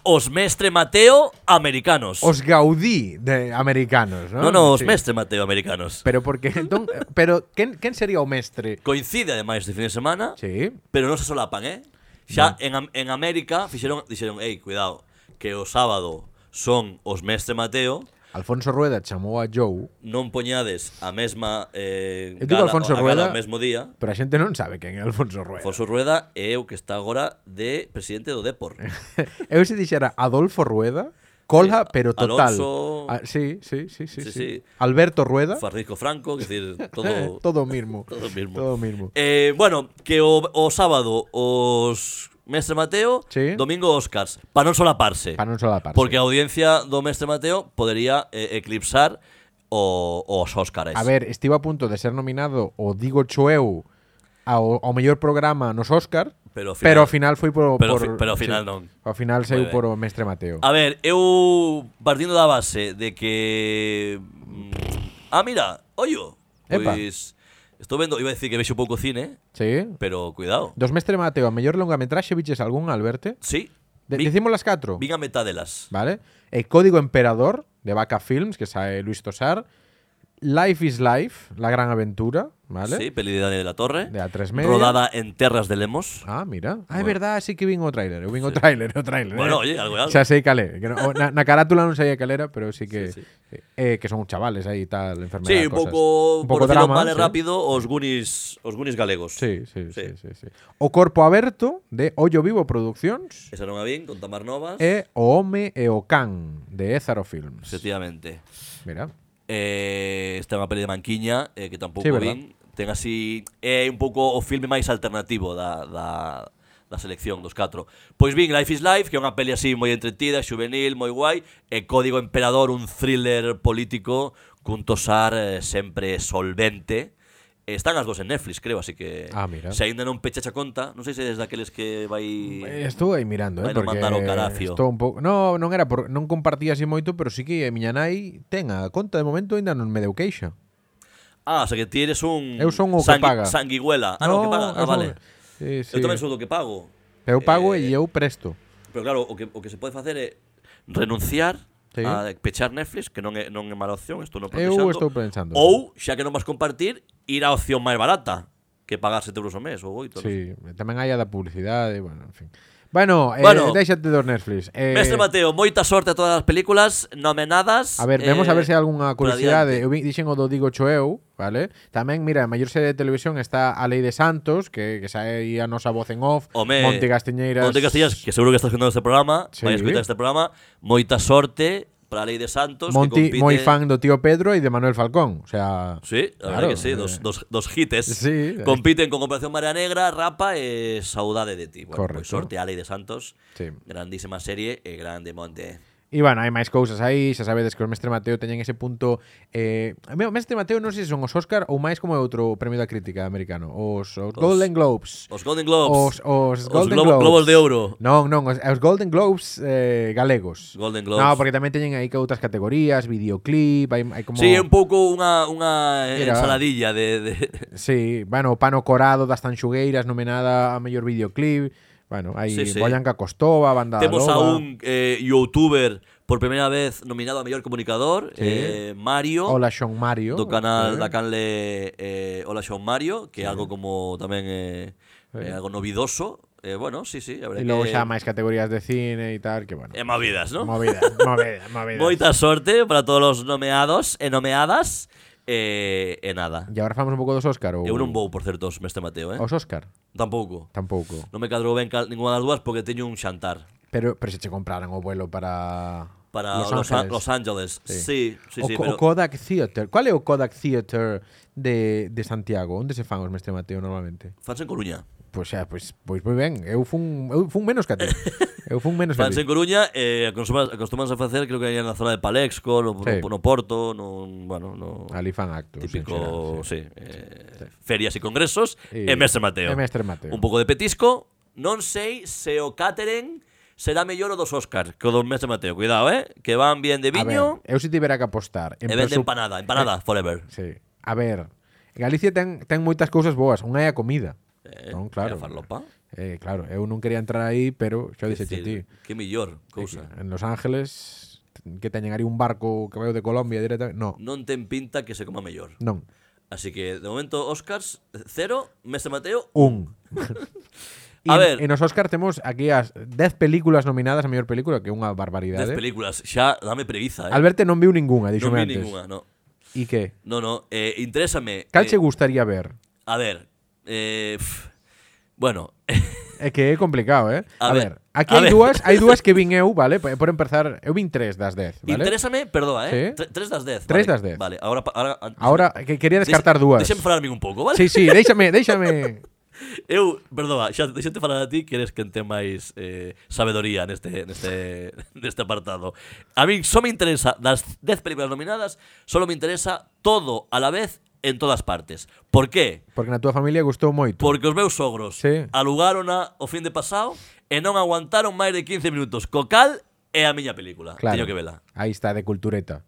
S2: os Mestre Mateo americanos.
S1: os Gaudí de americanos, non?
S2: No, no, os
S1: Sí.
S2: Mestre Mateo americanos.
S1: Pero porque entón, pero quen, quen sería o mestre?
S2: Coincide ademais este fin de semana,
S1: Sí.
S2: pero non se solapan, eh. Xa en, Am- en América fixeron dixeron, "Ei, cuidado, que o sábado son os Mestre Mateo."
S1: Alfonso Rueda chamou a Joe,
S2: non poñades a mesma eh,
S1: Eu digo
S2: gala,
S1: Alfonso
S2: a gala
S1: Rueda.
S2: ao mesmo día
S1: pero a xente non sabe quen é Alfonso Rueda.
S2: Alfonso Rueda é o que está agora de presidente do Depor
S1: Eu se dixera Adolfo Rueda, cola,
S2: Sí,
S1: pero total.
S2: Alonso-
S1: Ah, sí, sí, sí, sí,
S2: Sí,
S1: sí,
S2: sí.
S1: Alberto Rueda.
S2: Francisco Franco, que decir,
S1: eh,
S2: todo
S1: todo mismo.
S2: todo mismo.
S1: Todo mismo.
S2: Eh, bueno, que o, o sábado os Mestre Mateo,
S1: Sí.
S2: domingo Oscars, para non solaparse.
S1: Para non solaparse.
S2: Porque a audiencia do Mestre Mateo podería eh, eclipsar o, os Óscares.
S1: A ver, estive a punto de ser nominado o digo Choeu ao, ao mellor programa nos Óscar,
S2: Pero ao final-
S1: pero ao final foi por,
S2: pero
S1: por
S2: fi- pero ao final non.
S1: Ao final
S2: Moi
S1: saiu
S2: ben.
S1: por o Mestre Mateo.
S2: A ver, eu partindo da base de que mm, Ah, mira, ollo.
S1: Epa.
S2: Pois estou vendo, iba a decir que vexo pouco cine,
S1: Sí.
S2: pero cuidado.
S1: Dos Mestre Mateo, a mellor longametraxe viches algún Alberto?
S2: Sí.
S1: De,
S2: vi-
S1: decimos las 4,
S2: Vin a metá delas.
S1: vale? E Código Emperador de Vaca Films que sae Luis Tosar, Life is Life, La gran aventura, vale?
S2: Sí, peli de Dani de la Torre.
S1: De A3 Media.
S2: Rodada en terras de Lemos.
S1: Ah, mira. Ah, é verdade, sí que vin o tráiler, eu vin o tráiler, o tráiler.
S2: Bueno,
S1: eh.
S2: oye, algo é algo.
S1: Xa sei cal é, que no- o- na, na carátula non sei a cal era, pero sí que
S2: Sí, sí.
S1: eh, que son chavalés aí tal, enfermedad,
S2: Sí, un
S1: cosas.
S2: pouco,
S1: un
S2: por
S1: pouco
S2: decirlo
S1: drama,
S2: vale
S1: sí.
S2: rápido os Goonies, os Goonies galegos.
S1: Sí sí sí, sí, sí,
S2: Sí.
S1: O Corpo Aberto de Ollo Vivo Produccións
S2: Esa non a vin con Tamar Novas.
S1: e O Home e o Can de Ézaro Films.
S2: Efectivamente.
S1: Mira.
S2: Eh, esta é unha peli de Manquiña eh, que tampouco
S1: Sí, verdad.
S2: vin. Ten así é un pouco o filme máis alternativo da, da, da selección dos catro. Pois vin Life is Life, que é unha peli así moi entretida, juvenil, moi guai, e Código Emperador, un thriller político cun tosar eh, sempre solvente. E Están as dos en Netflix, creo, así que
S1: Ah, mira.
S2: se aínda non pechacha conta, non sei se é daqueles que vai
S1: Eh, Estou aí mirando, eh,
S2: Bueno,
S1: porque
S2: mandar o carafio.
S1: estou un pouco No, non era por non compartía así moito, pero sí que a miña nai ten a conta de momento aínda non me deu queixa.
S2: Ah, o sea que ti eres un
S1: Eu son o que paga.
S2: sanguiguela. Ah, no, que paga. Ah,
S1: eu son-
S2: vale.
S1: Sí, sí.
S2: Eu tamén sou do que pago.
S1: Pero eu pago
S2: Eh,
S1: e eu presto.
S2: Pero claro, o que, o que se pode facer é renunciar
S1: Sí.
S2: a pechar Netflix, que non é, non é mala opción, estou
S1: Eu
S2: non protexando.
S1: estou pensando.
S2: Ou, xa que non vas compartir, ir á opción máis barata, que pagar 7 euros ao mes ou 8.
S1: Sí, tamén hai a da publicidade, bueno, en fin. Bueno, eh,
S2: Bueno.
S1: déixate dos Netflix. Eh,
S2: Mestre Mateo, moita sorte a todas as películas nomenadas.
S1: A ver, vemos
S2: eh,
S1: a ver se hai algunha
S2: por
S1: curiosidade.
S2: adiante.
S1: Eu vi- dixen o do Digo Choeu, vale? Tamén, mira, a maior serie de televisión está A Lei de Santos, que, que sae aí a nosa voz en off,
S2: Home,
S1: Monte Castiñeiras.
S2: Monte Castiñeiras, que seguro que está escutando este programa,
S1: Sí.
S2: vai escutar este programa, moita sorte para a Lei de Santos,
S1: Monti
S2: que compite...
S1: moi fan do tío Pedro e de Manuel Falcón, o sea,
S2: Sí, a
S1: Claro,
S2: verdade que sí,
S1: eh.
S2: dos, dos, dos hites.
S1: Sí.
S2: Compiten con Operación Marea Negra, Rapa e Saudade de ti. Bueno,
S1: Correcto.
S2: pois sorte a Lei de Santos.
S1: Sí.
S2: Grandísima serie e grande monte.
S1: E bueno, hai máis cousas aí, xa sabedes que o Mestre Mateo teñen ese punto eh, meu, Mestre Mateo non sei se son os Oscar ou máis como é outro premio da crítica americano Os, os Golden Globes
S2: Os Golden
S1: Os,
S2: Globes.
S1: os
S2: Os
S1: Golden
S2: Globo-
S1: Globes.
S2: Globos de Ouro.
S1: Non, non, os, os Golden Globes eh, galegos.
S2: Golden Globes.
S1: No, porque tamén teñen aí que outras categorías, videoclip, hai, hai como
S2: Sí, é un pouco unha, unha
S1: Mira.
S2: ensaladilla de, de...
S1: Sí, bueno, Pano Corado das Tanxugueiras nominada a mellor videoclip. Bueno, hai
S2: Sí, sí.
S1: Boyanca Costova, Banda
S2: Temos a
S1: Loba,
S2: un eh, youtuber por primeira vez nominado a mellor comunicador,
S1: Sí.
S2: eh, Mario.
S1: Hola Sean Mario.
S2: do canal
S1: eh.
S2: da canle eh, Hola Sean Mario, que é algo como tamén eh, eh, algo novidoso. Eh, bueno, sí, sí, a
S1: E
S2: ver.
S1: logo xa máis categorías de cine e tal, que bueno.
S2: É Eh, movidas, ¿no?
S1: Movida, movida, movida.
S2: Moita sorte para todos os nomeados e nomeadas eh, e nada.
S1: E agora falamos un pouco dos Óscar ou...
S2: Eu non vou, por certo, os Mestre Mateo, eh?
S1: Os Óscar,
S2: Tampouco.
S1: tampouco.
S2: Non me cadrou ben cal, ninguna das dúas porque teño un xantar
S1: Pero, pero se che compraran o vuelo para...
S2: para
S1: Los
S2: Los, Los,
S1: Ángeles.
S2: Los Angeles. Sí, sí, sí,
S1: o, co-
S2: pero
S1: o Kodak Theater. ¿Cuál es el Kodak Theater de, de Santiago? ¿Dónde se fan os Mestre Mateo normalmente?
S2: fans en Coruña.
S1: Pues xa, pues, pois moi ben. Eu fun, eu fun menos que a ti. Eu fun menos que a
S2: Fans en
S1: ti.
S2: Coruña eh, acostumas- acostumanse a facer, creo que aí na zona de Palexco, no,
S1: Sí.
S2: no, no Porto, no, bueno, no,
S1: Ali fan actos. en
S2: Típico,
S1: xeral,
S2: sí. eh, Ferias e congresos
S1: E-
S2: e Mestre Mateo.
S1: e Mestre Mateo.
S2: Un pouco de petisco. Non sei se o catering será mellor o dos Óscar que o do Mestre Mateo. Cuidado, eh? Que van bien de
S1: A
S2: viño
S1: ver, eu si tivera que apostar.
S2: e venden
S1: presu- eh,
S2: empanada. Empanada, forever.
S1: Sí. A ver, Galicia ten, ten moitas cousas boas. Unha é a comida.
S2: Eh,
S1: non, claro.
S2: e a farlopa.
S1: Eh, claro, eu non quería entrar aí, pero xa
S2: Es
S1: dixe ti.
S2: decir, Que mellor cousa.
S1: En Los Ángeles que teñen aí un barco que vai de Colombia directamente. No,
S2: Non ten pinta que se coma mellor.
S1: non.
S2: Así que, de momento, Óscars, cero, Mestre Mateo,
S1: Un.
S2: A ver.
S1: En los Oscar tenemos aquí as 10 películas nominadas a mellor película, que é unha barbaridade.
S2: dez películas. Xa, dame preguiza, eh?
S1: Alberto non viu ningunha,
S2: non
S1: díxome
S2: vi
S1: antes.
S2: ninguna, no.
S1: E que?
S2: No, no, eh, interésame.
S1: Cal
S2: eh,
S1: che gustaría ver?
S2: A ver. Eh, pf, bueno. eh,
S1: É que é complicado, eh? A,
S2: A
S1: ver,
S2: ver,
S1: aquí
S2: a
S1: hai
S2: ver.
S1: dúas, hai dúas que vin eu, vale? Por por empezar, eu vin tres das 10, vale?
S2: Interésame, perdoa, eh.
S1: Sí.
S2: Tre- Tres das 10.
S1: Tres
S2: vale.
S1: das dez.
S2: Vale, ahora. pa- ahora antes-
S1: Ahora que quería
S2: deixa-
S1: descartar dúas.
S2: Déxame falarme un pouco, vale?
S1: Sí, sí, déixame, déixame.
S2: Eu, perdoa, xa deixate falar a ti que eres quen ten máis eh, sabedoría neste, neste, neste apartado. A min só me interesa, das 10 películas nominadas, só me interesa todo a la vez en todas partes. Por qué?
S1: Porque na túa familia gustou moito.
S2: Porque os meus sogros
S1: Sí.
S2: alugaron a, o fin de pasado e non aguantaron máis de 15 minutos. Cocal é a miña película.
S1: Claro.
S2: Teño que vela.
S1: Aí está de cultureta.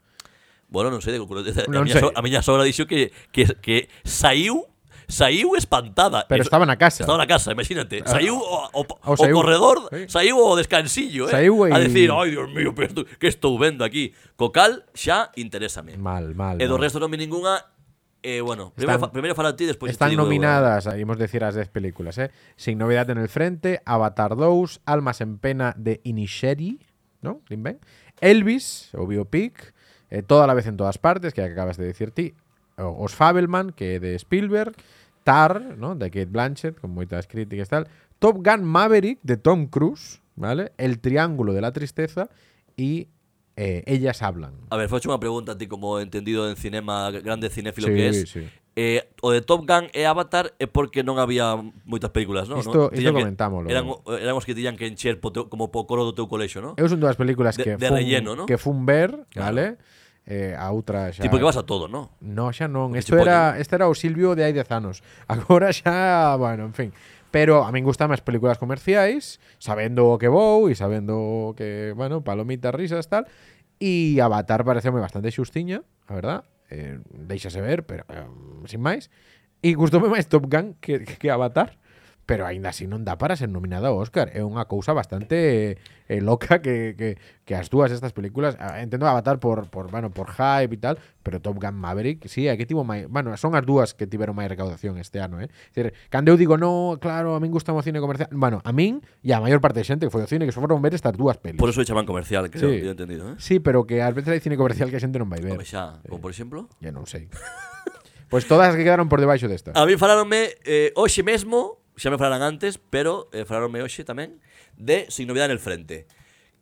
S2: Bueno, non sei de culo.
S1: Non
S2: A, miña
S1: sei.
S2: so- a miña sogra dixo que, que, que saiu saiu espantada.
S1: Pero
S2: Eso-
S1: estaba na casa. Ah.
S2: Estaba na casa, imagínate. Saiu o, o, o,
S1: saiu.
S2: corredor,
S1: Sí.
S2: saiu o descansillo, eh?
S1: Saiu e-
S2: A decir, ai, Dios mío, pero esto- que estou vendo aquí? Cocal xa interésame.
S1: Mal, mal.
S2: e do
S1: mal.
S2: resto non vi ningunha... Eh, bueno,
S1: Están-
S2: primeiro, fa, primeiro fala ti, despois
S1: Están
S2: te digo eu, eh.
S1: nominadas, íbamos a decir, las 10 películas, ¿eh? Sin novedad en el frente, Avatar 2, Almas en pena de Inisheri, ¿no? Lin Ben, Elvis, o Biopic, eh, Toda la vez en todas partes, que acabas de decir ti, o- Os Fabelman, que de Spielberg, Tar, ¿no? De Kate Blanchett, con muchas críticas y tal, Top Gun Maverick, de Tom Cruise, ¿vale? El Triángulo de la Tristeza y eh, Ellas Hablan.
S2: A ver, facho unha pregunta a ti como entendido en cinema, grande cinéfilo
S1: Sí,
S2: que es.
S1: sí.
S2: Eh, o de Top Gun e Avatar é porque non había moitas películas, non?
S1: Isto-
S2: non?
S1: isto
S2: Tiñan que-
S1: comentámolo.
S2: Eran, o- eran os que tiñan que encher po teu, como po coro do teu colexo, non?
S1: Eu son dúas películas
S2: De-
S1: que
S2: de
S1: fun,
S2: relleno, ¿no?
S1: que fun ver,
S2: Claro.
S1: vale? Eh, a outra xa
S2: Tipo que vas a todo, non?
S1: No, xa non,
S2: Porque
S1: isto
S2: che
S1: era este era o Silvio de hai 10 anos. Agora xa, bueno, en fin. Pero a min gustan as películas comerciais, sabendo o que vou e sabendo o que, bueno, palomitas, risas, tal. E Avatar pareceume bastante xustiña, a verdad. Eh, deixase ver, pero eh, sin máis. E gustoume máis Top Gun que, que Avatar. pero aínda así non dá para ser nominada ao Oscar. É unha cousa bastante eh, loca que, que, que as dúas estas películas, ah, entendo Avatar por, por, bueno, por hype e tal, pero Top Gun Maverick, sí, aquí tivo máis, bueno, son as dúas que tiveron máis recaudación este ano, eh. Decir, cando eu digo, no, claro, a min gusta o cine comercial, bueno, a min e a maior parte de xente que foi ao cine que só foron ver estas dúas pelis.
S2: Por eso echaban comercial, creo,
S1: Sí.
S2: yo he entendido, ¿eh?
S1: Sí, pero que ás veces hai cine comercial que a xente non vai ver.
S2: Como xa, como por exemplo...
S1: Ya non sei. Pois todas as que quedaron por debaixo desta.
S2: A mí falaronme eh, hoxe mesmo, xa me falaran antes, pero eh, falaronme hoxe tamén, de Sin Novidade en el Frente.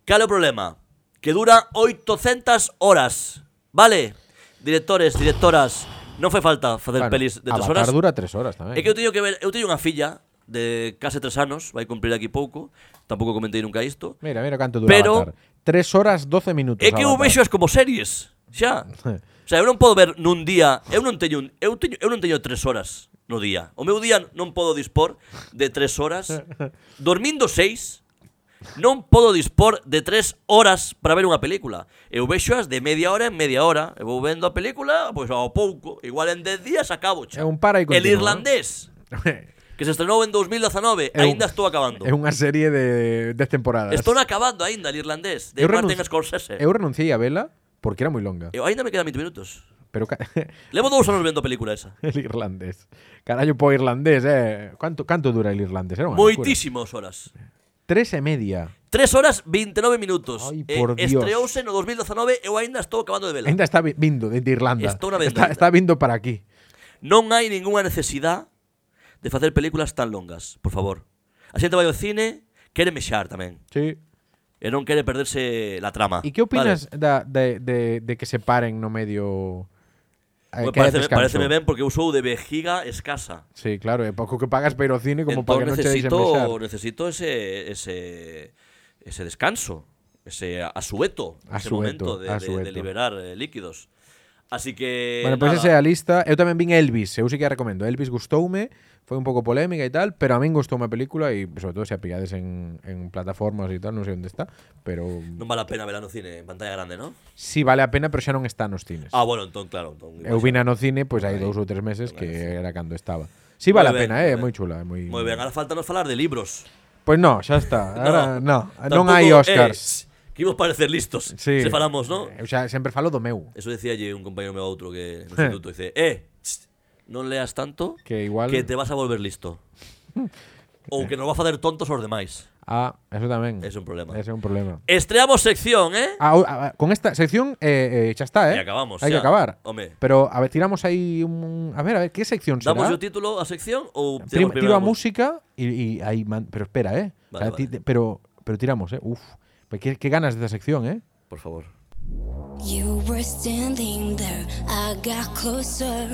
S2: Cal é o problema? Que dura 800 horas, vale? Directores, directoras, non foi falta facer
S1: Bueno,
S2: pelis de tres
S1: Avatar
S2: horas.
S1: dura tres horas tamén.
S2: É que eu teño que ver, eu teño unha filla de case tres anos, vai cumplir aquí pouco, tampouco comentei nunca isto.
S1: Mira, mira canto dura
S2: Pero-
S1: Avatar. Tres horas 12 minutos.
S2: É que eu
S1: Avatar.
S2: vexo as como series, xa. O sea, eu non podo ver nun día, eu non teño, un- eu teño, eu non teño tres horas no día. O meu día non podo dispor de tres horas. Dormindo seis, non podo dispor de tres horas para ver unha película. Eu vexo as de media hora en media hora. Eu vou vendo a película, pois ao pouco. Igual en dez días acabo, xa.
S1: É un para e eh.
S2: El
S1: continúa.
S2: irlandés, que se estrenou en 2019,
S1: É un-
S2: aínda estou acabando.
S1: É unha serie de 10 temporadas.
S2: Estou acabando aínda el irlandés, de
S1: Eu
S2: Martin
S1: renuncio-
S2: Scorsese.
S1: Eu renunciei a vela porque era moi longa.
S2: Eu aínda me quedan 20 minutos.
S1: Pero ca-
S2: Levo dous anos vendo a película esa.
S1: el irlandés. Carallo po irlandés, eh. Canto, canto dura el irlandés? Era unha locura.
S2: Moitísimas horas.
S1: Tres e media.
S2: 3 horas 29 minutos.
S1: Ai, por Dios.
S2: Estreouse no 2019 eu aínda estou acabando de vela.
S1: Ainda está vi- vindo de de Irlanda.
S2: Estou na venda
S1: está,
S2: ainda.
S1: está vindo para aquí.
S2: Non hai ningunha necesidade de facer películas tan longas, por favor. A xente vai ao cine, quere mexar tamén.
S1: Sí.
S2: E non quere perderse la trama.
S1: E que opinas da, de, de, de que se paren no medio eh,
S2: Vale.
S1: que haya
S2: Pareceme,
S1: descanso?
S2: pareceme ben porque eu sou de vejiga escasa.
S1: Sí, claro, é pouco que pagas para ir ao cine como para que
S2: Entón
S1: non che deixen besar.
S2: necesito, necesito ese, ese, ese descanso, ese asueto, ese
S1: Asueto,
S2: momento de, de-
S1: asueto.
S2: de liberar eh, líquidos. Así que.
S1: bueno, pues pois
S2: Eh,
S1: esa é
S2: nada.
S1: a lista. Eu tamén vin Elvis, eu sí que a recomendo. Elvis gustoume, foi un pouco polémica e tal, pero a min gustoume a película e sobre todo se a pillades en, en plataformas e tal, non sei onde está, pero
S2: Non vale a pena verla no cine, en pantalla grande, ¿no?
S1: si sí vale a pena, pero xa non está nos cines.
S2: Ah, bueno, entón, claro. Entón,
S1: eu vin no cine, pois hai dous ou tres meses que era cando estaba. Si sí, vale
S2: Moi
S1: a
S2: ben,
S1: pena,
S2: moi
S1: eh, é
S2: ben.
S1: moi chula, é moi
S2: Moi ben, ahora falta nos falar de libros.
S1: Pois non, xa está. Ahora, no, non
S2: tampouco-
S1: hai Oscars.
S2: Eh, que imos parecer listos.
S1: Sí.
S2: Se falamos, ¿no?
S1: Eu xa sempre falo do meu.
S2: Eso decía allí un compañero meu a outro que no instituto dice, "Eh, tss, non leas tanto
S1: Que igual-
S2: que te vas a volver listo." Ou que nos va a facer tontos os demais.
S1: Ah, eso tamén.
S2: É un problema.
S1: Ese é un problema.
S2: Estreamos sección, ¿eh?
S1: Ah, o- ah, con esta sección eh, eh, xa está, eh.
S2: E acabamos,
S1: Hai que
S2: xa.
S1: acabar.
S2: Home.
S1: Pero a ver, tiramos aí un a ver, a ver qué sección será.
S2: Damos o título a sección ou
S1: Tira, tiro
S2: tiramos primeiro
S1: a
S2: la
S1: música y, y ahí man- pero espera, eh. O sea,
S2: Vale,
S1: ti-
S2: vale.
S1: pero pero tiramos, eh. Uf. Pues qué, qué ganas de esta sección, eh.
S2: Por favor.
S6: You were standing there, I got closer.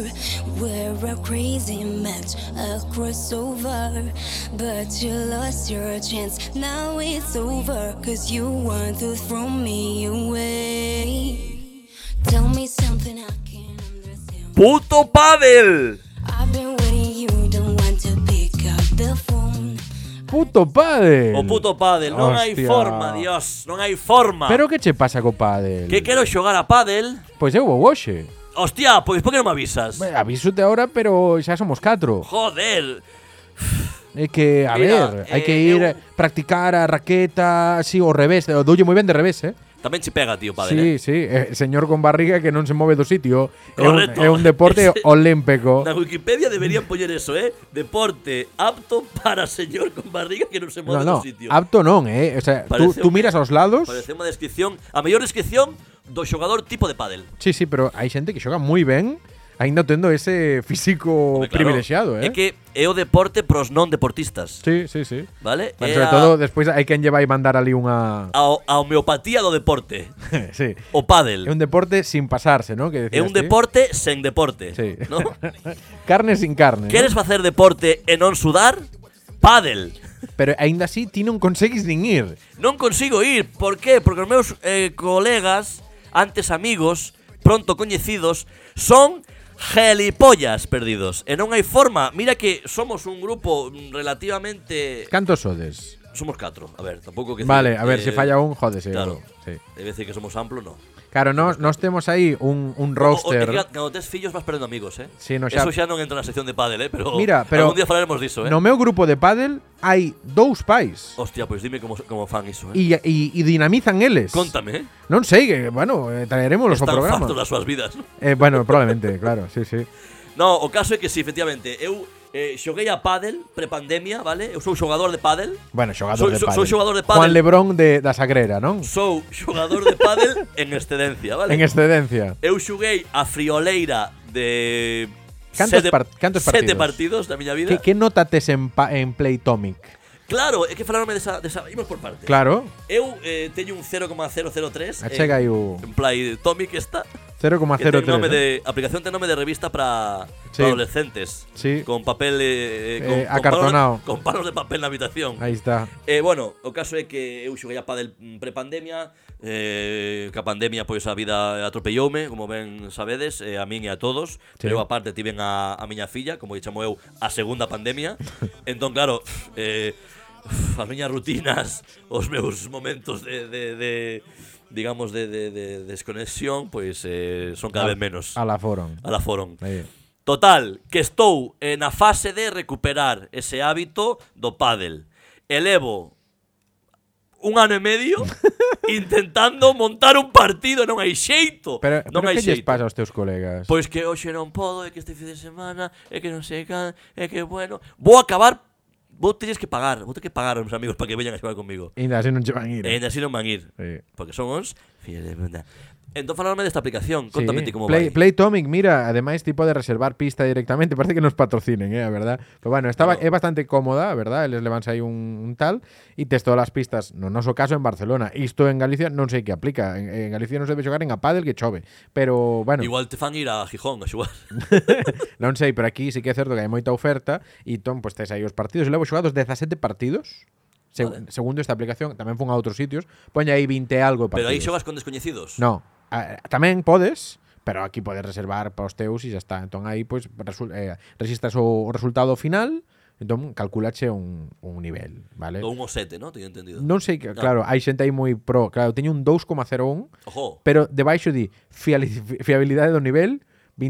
S6: We're a crazy match, a crossover. But you lost your chance, now it's over. Cause you want to throw me away. Tell me something I can understand.
S2: Puto pádel.
S6: I've been waiting, you don't want to pick up the phone.
S1: Puto padre.
S2: O puto pádel, non hai
S1: Hostia.
S2: forma, Dios, non hai forma.
S1: Pero que che pasa co pádel?
S2: que quero xogar a pádel.
S1: Pois eu vou hoxe.
S2: Hostia, pois por que non me avisas?
S1: Bueno, Avísote ahora, pero xa somos catro.
S2: Joder.
S1: É que, a
S2: Mira,
S1: ver,
S2: eh,
S1: hai que ir
S2: eu-
S1: eh, practicar a raqueta así ao revés, o doulle moi ben de revés, eh?
S2: Tamén che pega, tío, pádel. eh.
S1: Sí, sí, eh, señor con barriga que non se move do sitio, é un,
S2: Correcto.
S1: é un deporte
S2: Ese-
S1: olímpico.
S2: Na Wikipedia deberían poñer eso, eh? Deporte apto para señor con barriga que non se move
S1: No, no,
S2: do sitio.
S1: apto non, eh? O sea, tú,
S2: Parece
S1: tú
S2: un-
S1: miras aos lados.
S2: Parece unha descripción, a mellor descripción do xogador tipo de pádel.
S1: Sí, sí, pero hai xente que xoga moi ben, aínda tendo ese físico
S2: Home, claro,
S1: privilexiado, eh?
S2: É que é o deporte pros non deportistas,
S1: Sí, sí, sí.
S2: vale?
S1: Bueno,
S2: é
S1: sobre
S2: a-
S1: todo despois hai quen lleva e mandar ali unha
S2: a, o- a homeopatía do deporte,
S1: sí.
S2: o pádel.
S1: É un deporte sin pasarse, ¿no? Que
S2: É
S1: decías
S2: un
S1: ti.
S2: deporte sen deporte,
S1: Sí.
S2: ¿no?
S1: Carne sin carne. ¿no?
S2: Queres facer deporte e non sudar? Pádel.
S1: Pero aínda así ti non conseguis nin ir.
S2: Non consigo ir, por qué? Porque os meus eh, colegas, antes amigos, pronto coñecidos, son gelipollas perdidos. E non hai forma, mira que somos un grupo mm, relativamente...
S1: Cantos sodes?
S2: Somos catro, a ver, tampouco que... eh,
S1: Vale, a ver, si falla un, jódese.
S2: Claro.
S1: Sí.
S2: É decir que somos amplo, no. Oh,
S1: Claro, nós, nós temos aí un, un roster...
S2: O, o, é que cando tes fillos vas perdendo amigos, eh?
S1: Sí, no, xa-
S2: Eso xa non entra na sección de pádel, eh? Pero,
S1: Mira, pero-
S2: algún día falaremos diso, eh? Oh,
S1: No meu grupo de pádel hai dous pais
S2: Hostia, pois dime como, como fan iso, eh?
S1: e, e, e dinamizan eles.
S2: Contame, eh?
S1: Non sei, que, bueno, eh, traeremos ao
S2: Están
S1: programa.
S2: fartos das súas vidas, non?
S1: Eh, bueno, probablemente, claro, sí, sí.
S2: No, o caso é que si, efectivamente, eu eh, xoguei a pádel prepandemia, vale? Eu sou xogador de pádel.
S1: Bueno, xogador
S2: Sou-
S1: de
S2: sou-
S1: pádel.
S2: sou xogador de pádel.
S1: Juan Lebrón de, da Sagrera, non?
S2: Sou xogador de pádel en excedencia, vale?
S1: En excedencia.
S2: Eu xoguei a frioleira de
S1: Cantos par- cantos
S2: sete
S1: partidos?
S2: partidos da miña vida.
S1: Que, que nota tes en, pa- en Playtomic?
S2: Claro, é que falarme desa, desa imos por parte.
S1: Claro,
S2: Eu eh, teño un 0,003
S1: achega aí
S2: en,
S1: o
S2: en Play Tommy que está que
S1: 0,03.
S2: ten nome
S1: ¿no?
S2: de aplicación ten nome de revista para
S1: Sí.
S2: adolescentes
S1: Sí.
S2: con papel eh, eh, con,
S1: Eh,
S2: con
S1: acartonao.
S2: palos, con palos de papel na habitación.
S1: Aí está.
S2: Eh, bueno, o caso é que eu xoguei a pádel mm, prepandemia eh, Que a pandemia pois a vida atropelloume Como ben sabedes, eh, a min e a todos
S1: Sí.
S2: Pero eu aparte tiven a, a miña filla Como lle chamo eu, a segunda pandemia Entón claro, eh, as miñas rutinas Os meus momentos de, de, de digamos de, de, de desconexión Pois eh, son cada vez menos Ah.
S1: A la foron.
S2: a la foron
S1: Aí.
S2: Total, que estou eh, na fase de recuperar ese hábito do pádel. Elevo un ano e medio intentando montar un partido, non hai xeito.
S1: Pero,
S2: non
S1: pero
S2: hai
S1: que lles
S2: xeito.
S1: pasa aos teus colegas?
S2: Pois que hoxe non podo, é que este fin de semana, é que non sei can, é que bueno, vou acabar vou teñes que pagar, vou ter que pagar aos meus amigos para que veñan a xogar comigo.
S1: Ainda así non che van ir.
S2: E ainda así non van ir,
S1: Sí.
S2: porque son uns fillos de puta. Entón falarme desta aplicación, contame ti como
S1: Play,
S2: vai.
S1: Playtomic, mira, ademais ti pode reservar pista directamente, parece que nos patrocinen, eh, a verdad. Pero bueno, está ba-
S2: Claro.
S1: é bastante cómoda, a verdad, eles levanse aí un, un tal e tes todas as pistas, no noso caso en Barcelona, isto en Galicia non sei que aplica, en, en Galicia non se debe xogar en a pádel que chove, pero bueno,
S2: Igual te fan ir a Gijón a xogar.
S1: non sei, pero aquí sí que é certo que hai moita oferta e entón pois tes aí os partidos, eu levo xogados 17 partidos. Seg Segundo esta aplicación, tamén fun a outros sitios, poña aí 20 e algo
S2: Pero
S1: partidos.
S2: aí xogas con descoñecidos.
S1: No, a- tamén podes, pero aquí podes reservar para os teus e xa está. Entón aí pois resul, eh, registras o resultado final, entón calculache un, un nivel, vale?
S2: Ou un o 7, ¿no? Teño entendido.
S1: Non sei, que, claro, hai xente aí moi pro, claro, teño un 2,01,
S2: Ojo.
S1: pero debaixo di fiali- fiabilidade do nivel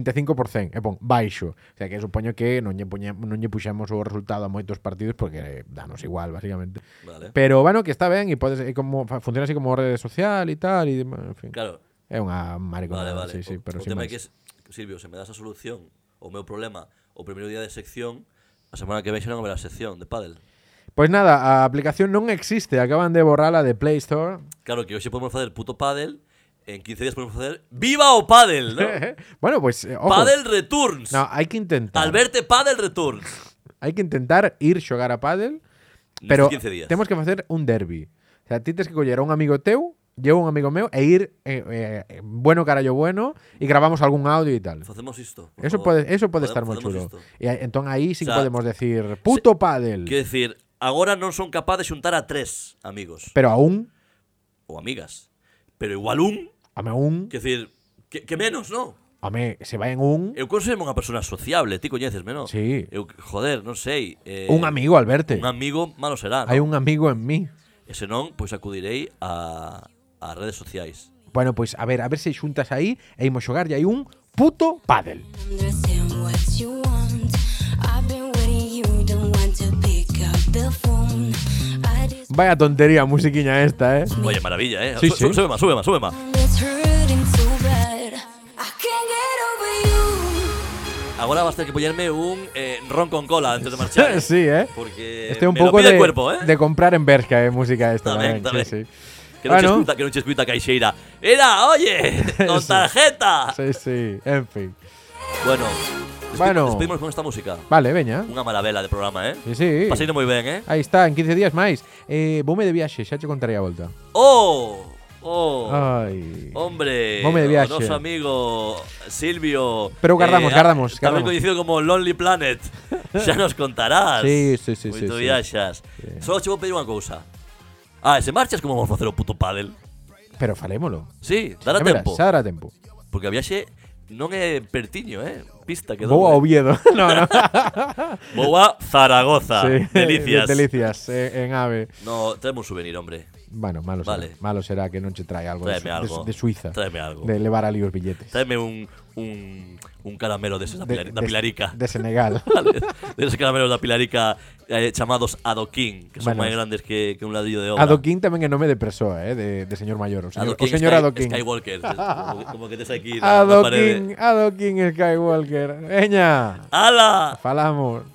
S1: 25%, e pon baixo. O sea, que supoño que non lle, puñe, non lle puxemos o resultado a moitos partidos porque eh, danos igual, basicamente.
S2: Vale.
S1: Pero bueno, que está ben e podes e como fa- funciona así como rede social e tal e demais, en fin.
S2: Claro.
S1: É unha maricona,
S2: Vale, vale.
S1: sí, sí,
S2: o,
S1: pero
S2: o
S1: sin
S2: tema é
S1: máis.
S2: que es, Silvio, se me das a solución o meu problema o primeiro día de sección, a semana que vem xa non haberá sección de pádel.
S1: Pois Pues nada, a aplicación non existe, acaban de borrala de Play Store.
S2: Claro que hoxe podemos facer puto pádel, en 15 días podemos facer Viva o pádel, ¿no?
S1: bueno, pois eh, ojo.
S2: pádel Returns.
S1: No, hai que intentar.
S2: Alberte Padel Returns.
S1: Hai que intentar ir xogar a pádel,
S2: Nestes
S1: pero
S2: 15 días.
S1: temos que facer un derbi. O sea, ti tes que coller a un amigo teu, llevo un amigo meu e ir eh, eh, eh, bueno carallo bueno e gravamos algún audio e tal.
S2: Facemos isto. por
S1: Eso
S2: favor.
S1: pode, eso pode
S2: Podem-
S1: estar moi
S2: facemos
S1: chulo.
S2: isto.
S1: E aí- entón aí sí que
S2: O sea,
S1: podemos decir puto pádel,
S2: Quero dicir, agora non son capaz de xuntar a tres amigos
S1: pero aún,
S2: ou amigas, pero igual un,
S1: ame un,
S2: quero dicir, que, que menos, non?
S1: ame, se vai en un,
S2: Eu considero unha persona sociable, ti coñecesme, non?
S1: Sí.
S2: Eu, joder, non sei. Eh,
S1: un amigo al verte.
S2: Un amigo malo será,
S1: Hai
S2: non?
S1: un amigo en mí.
S2: E se non, pois acudirei a, a redes sociais.
S1: Bueno, pois a ver, a ver se xuntas aí e imos xogar e hai un puto pádel.
S6: understand what you want. I've been waiting, you don't want to pick up the phone. I just
S1: Vaya tontería a musiquiña esta, eh.
S2: Vaya maravilla, eh?
S1: Sí, sí.
S2: Sube má, sube má, sube má.
S6: it's hurting so bad. I can't get over you.
S2: Agora vas ter que poñerme un eh, ron con cola antes de marchar. eh?
S1: sí, eh.
S2: Porque
S1: Este é un
S2: me lo
S1: pouco
S2: pide
S1: de,
S2: o cuerpo, eh?
S1: de comprar en Bershka, eh, música esta. tamén,
S2: Tamén, tamén.
S1: sí, sí.
S2: Que non che
S1: Bueno.
S2: escuita, que non che escuita a caixeira. Era, oye, con
S1: Sí.
S2: tarjeta.
S1: Sí, sí, en fin.
S2: Bueno,
S1: Bueno.
S2: bueno. despedimos con esta música.
S1: Vale, veña.
S2: Unha maravela de programa, eh?
S1: Sí, sí.
S2: Paseino moi ben, eh?
S1: Aí está, en 15 días máis. Eh, voume de viaxe, xa che contarei a volta.
S2: Oh, oh.
S1: Ah. Ai.
S2: Hombre,
S1: Vome de viaxe.
S2: o noso amigo Silvio.
S1: Pero guardamos, guardamos,
S2: Tamén
S1: guardamos.
S2: coñecido como Lonely Planet. Xa nos contarás.
S1: Sí, sí, sí, sí,
S2: Moito
S1: sí.
S2: viaxas. Só che vou pedir unha cousa. Ah, e se marchas como vamos facer o puto pádel?
S1: Pero falémolo.
S2: Sí, dará
S1: Xa verás,
S2: tempo.
S1: Xa dará tempo.
S2: Porque a viaxe Non é Pertiño, eh? Pista que
S1: Vou a
S2: dou. eh.
S1: Oviedo. no, no.
S2: Boa Zaragoza.
S1: Sí.
S2: Ah, Delicias.
S1: Delicias, eh, en AVE.
S2: No, traemos un souvenir, hombre.
S1: Bueno, malo será.
S2: Vale.
S1: Malo será que non che trae algo, Pues, de,
S2: Tráeme
S1: Su- de Su-
S2: algo.
S1: de Suiza.
S2: Tráeme algo.
S1: De levar ali os billetes.
S2: Tráeme un, un, un caramelo de esos, da,
S1: De-
S2: pilari- da
S1: de-
S2: pilarica.
S1: De Senegal.
S2: Vale. De esos caramelos da pilarica eh, chamados adoquín, que son
S1: Bueno.
S2: máis grandes que, que un ladrillo de obra.
S1: Adoquín tamén é nome de persoa, eh, de, de señor maior. O señor,
S2: Adoquín
S1: o señor
S2: Sky-
S1: Adoquín.
S2: Skywalker. como, como que tes aquí na, na
S1: Adoquín,
S2: parede.
S1: Adoquín Skywalker. Eña,
S2: ¡Hala!
S1: falamos.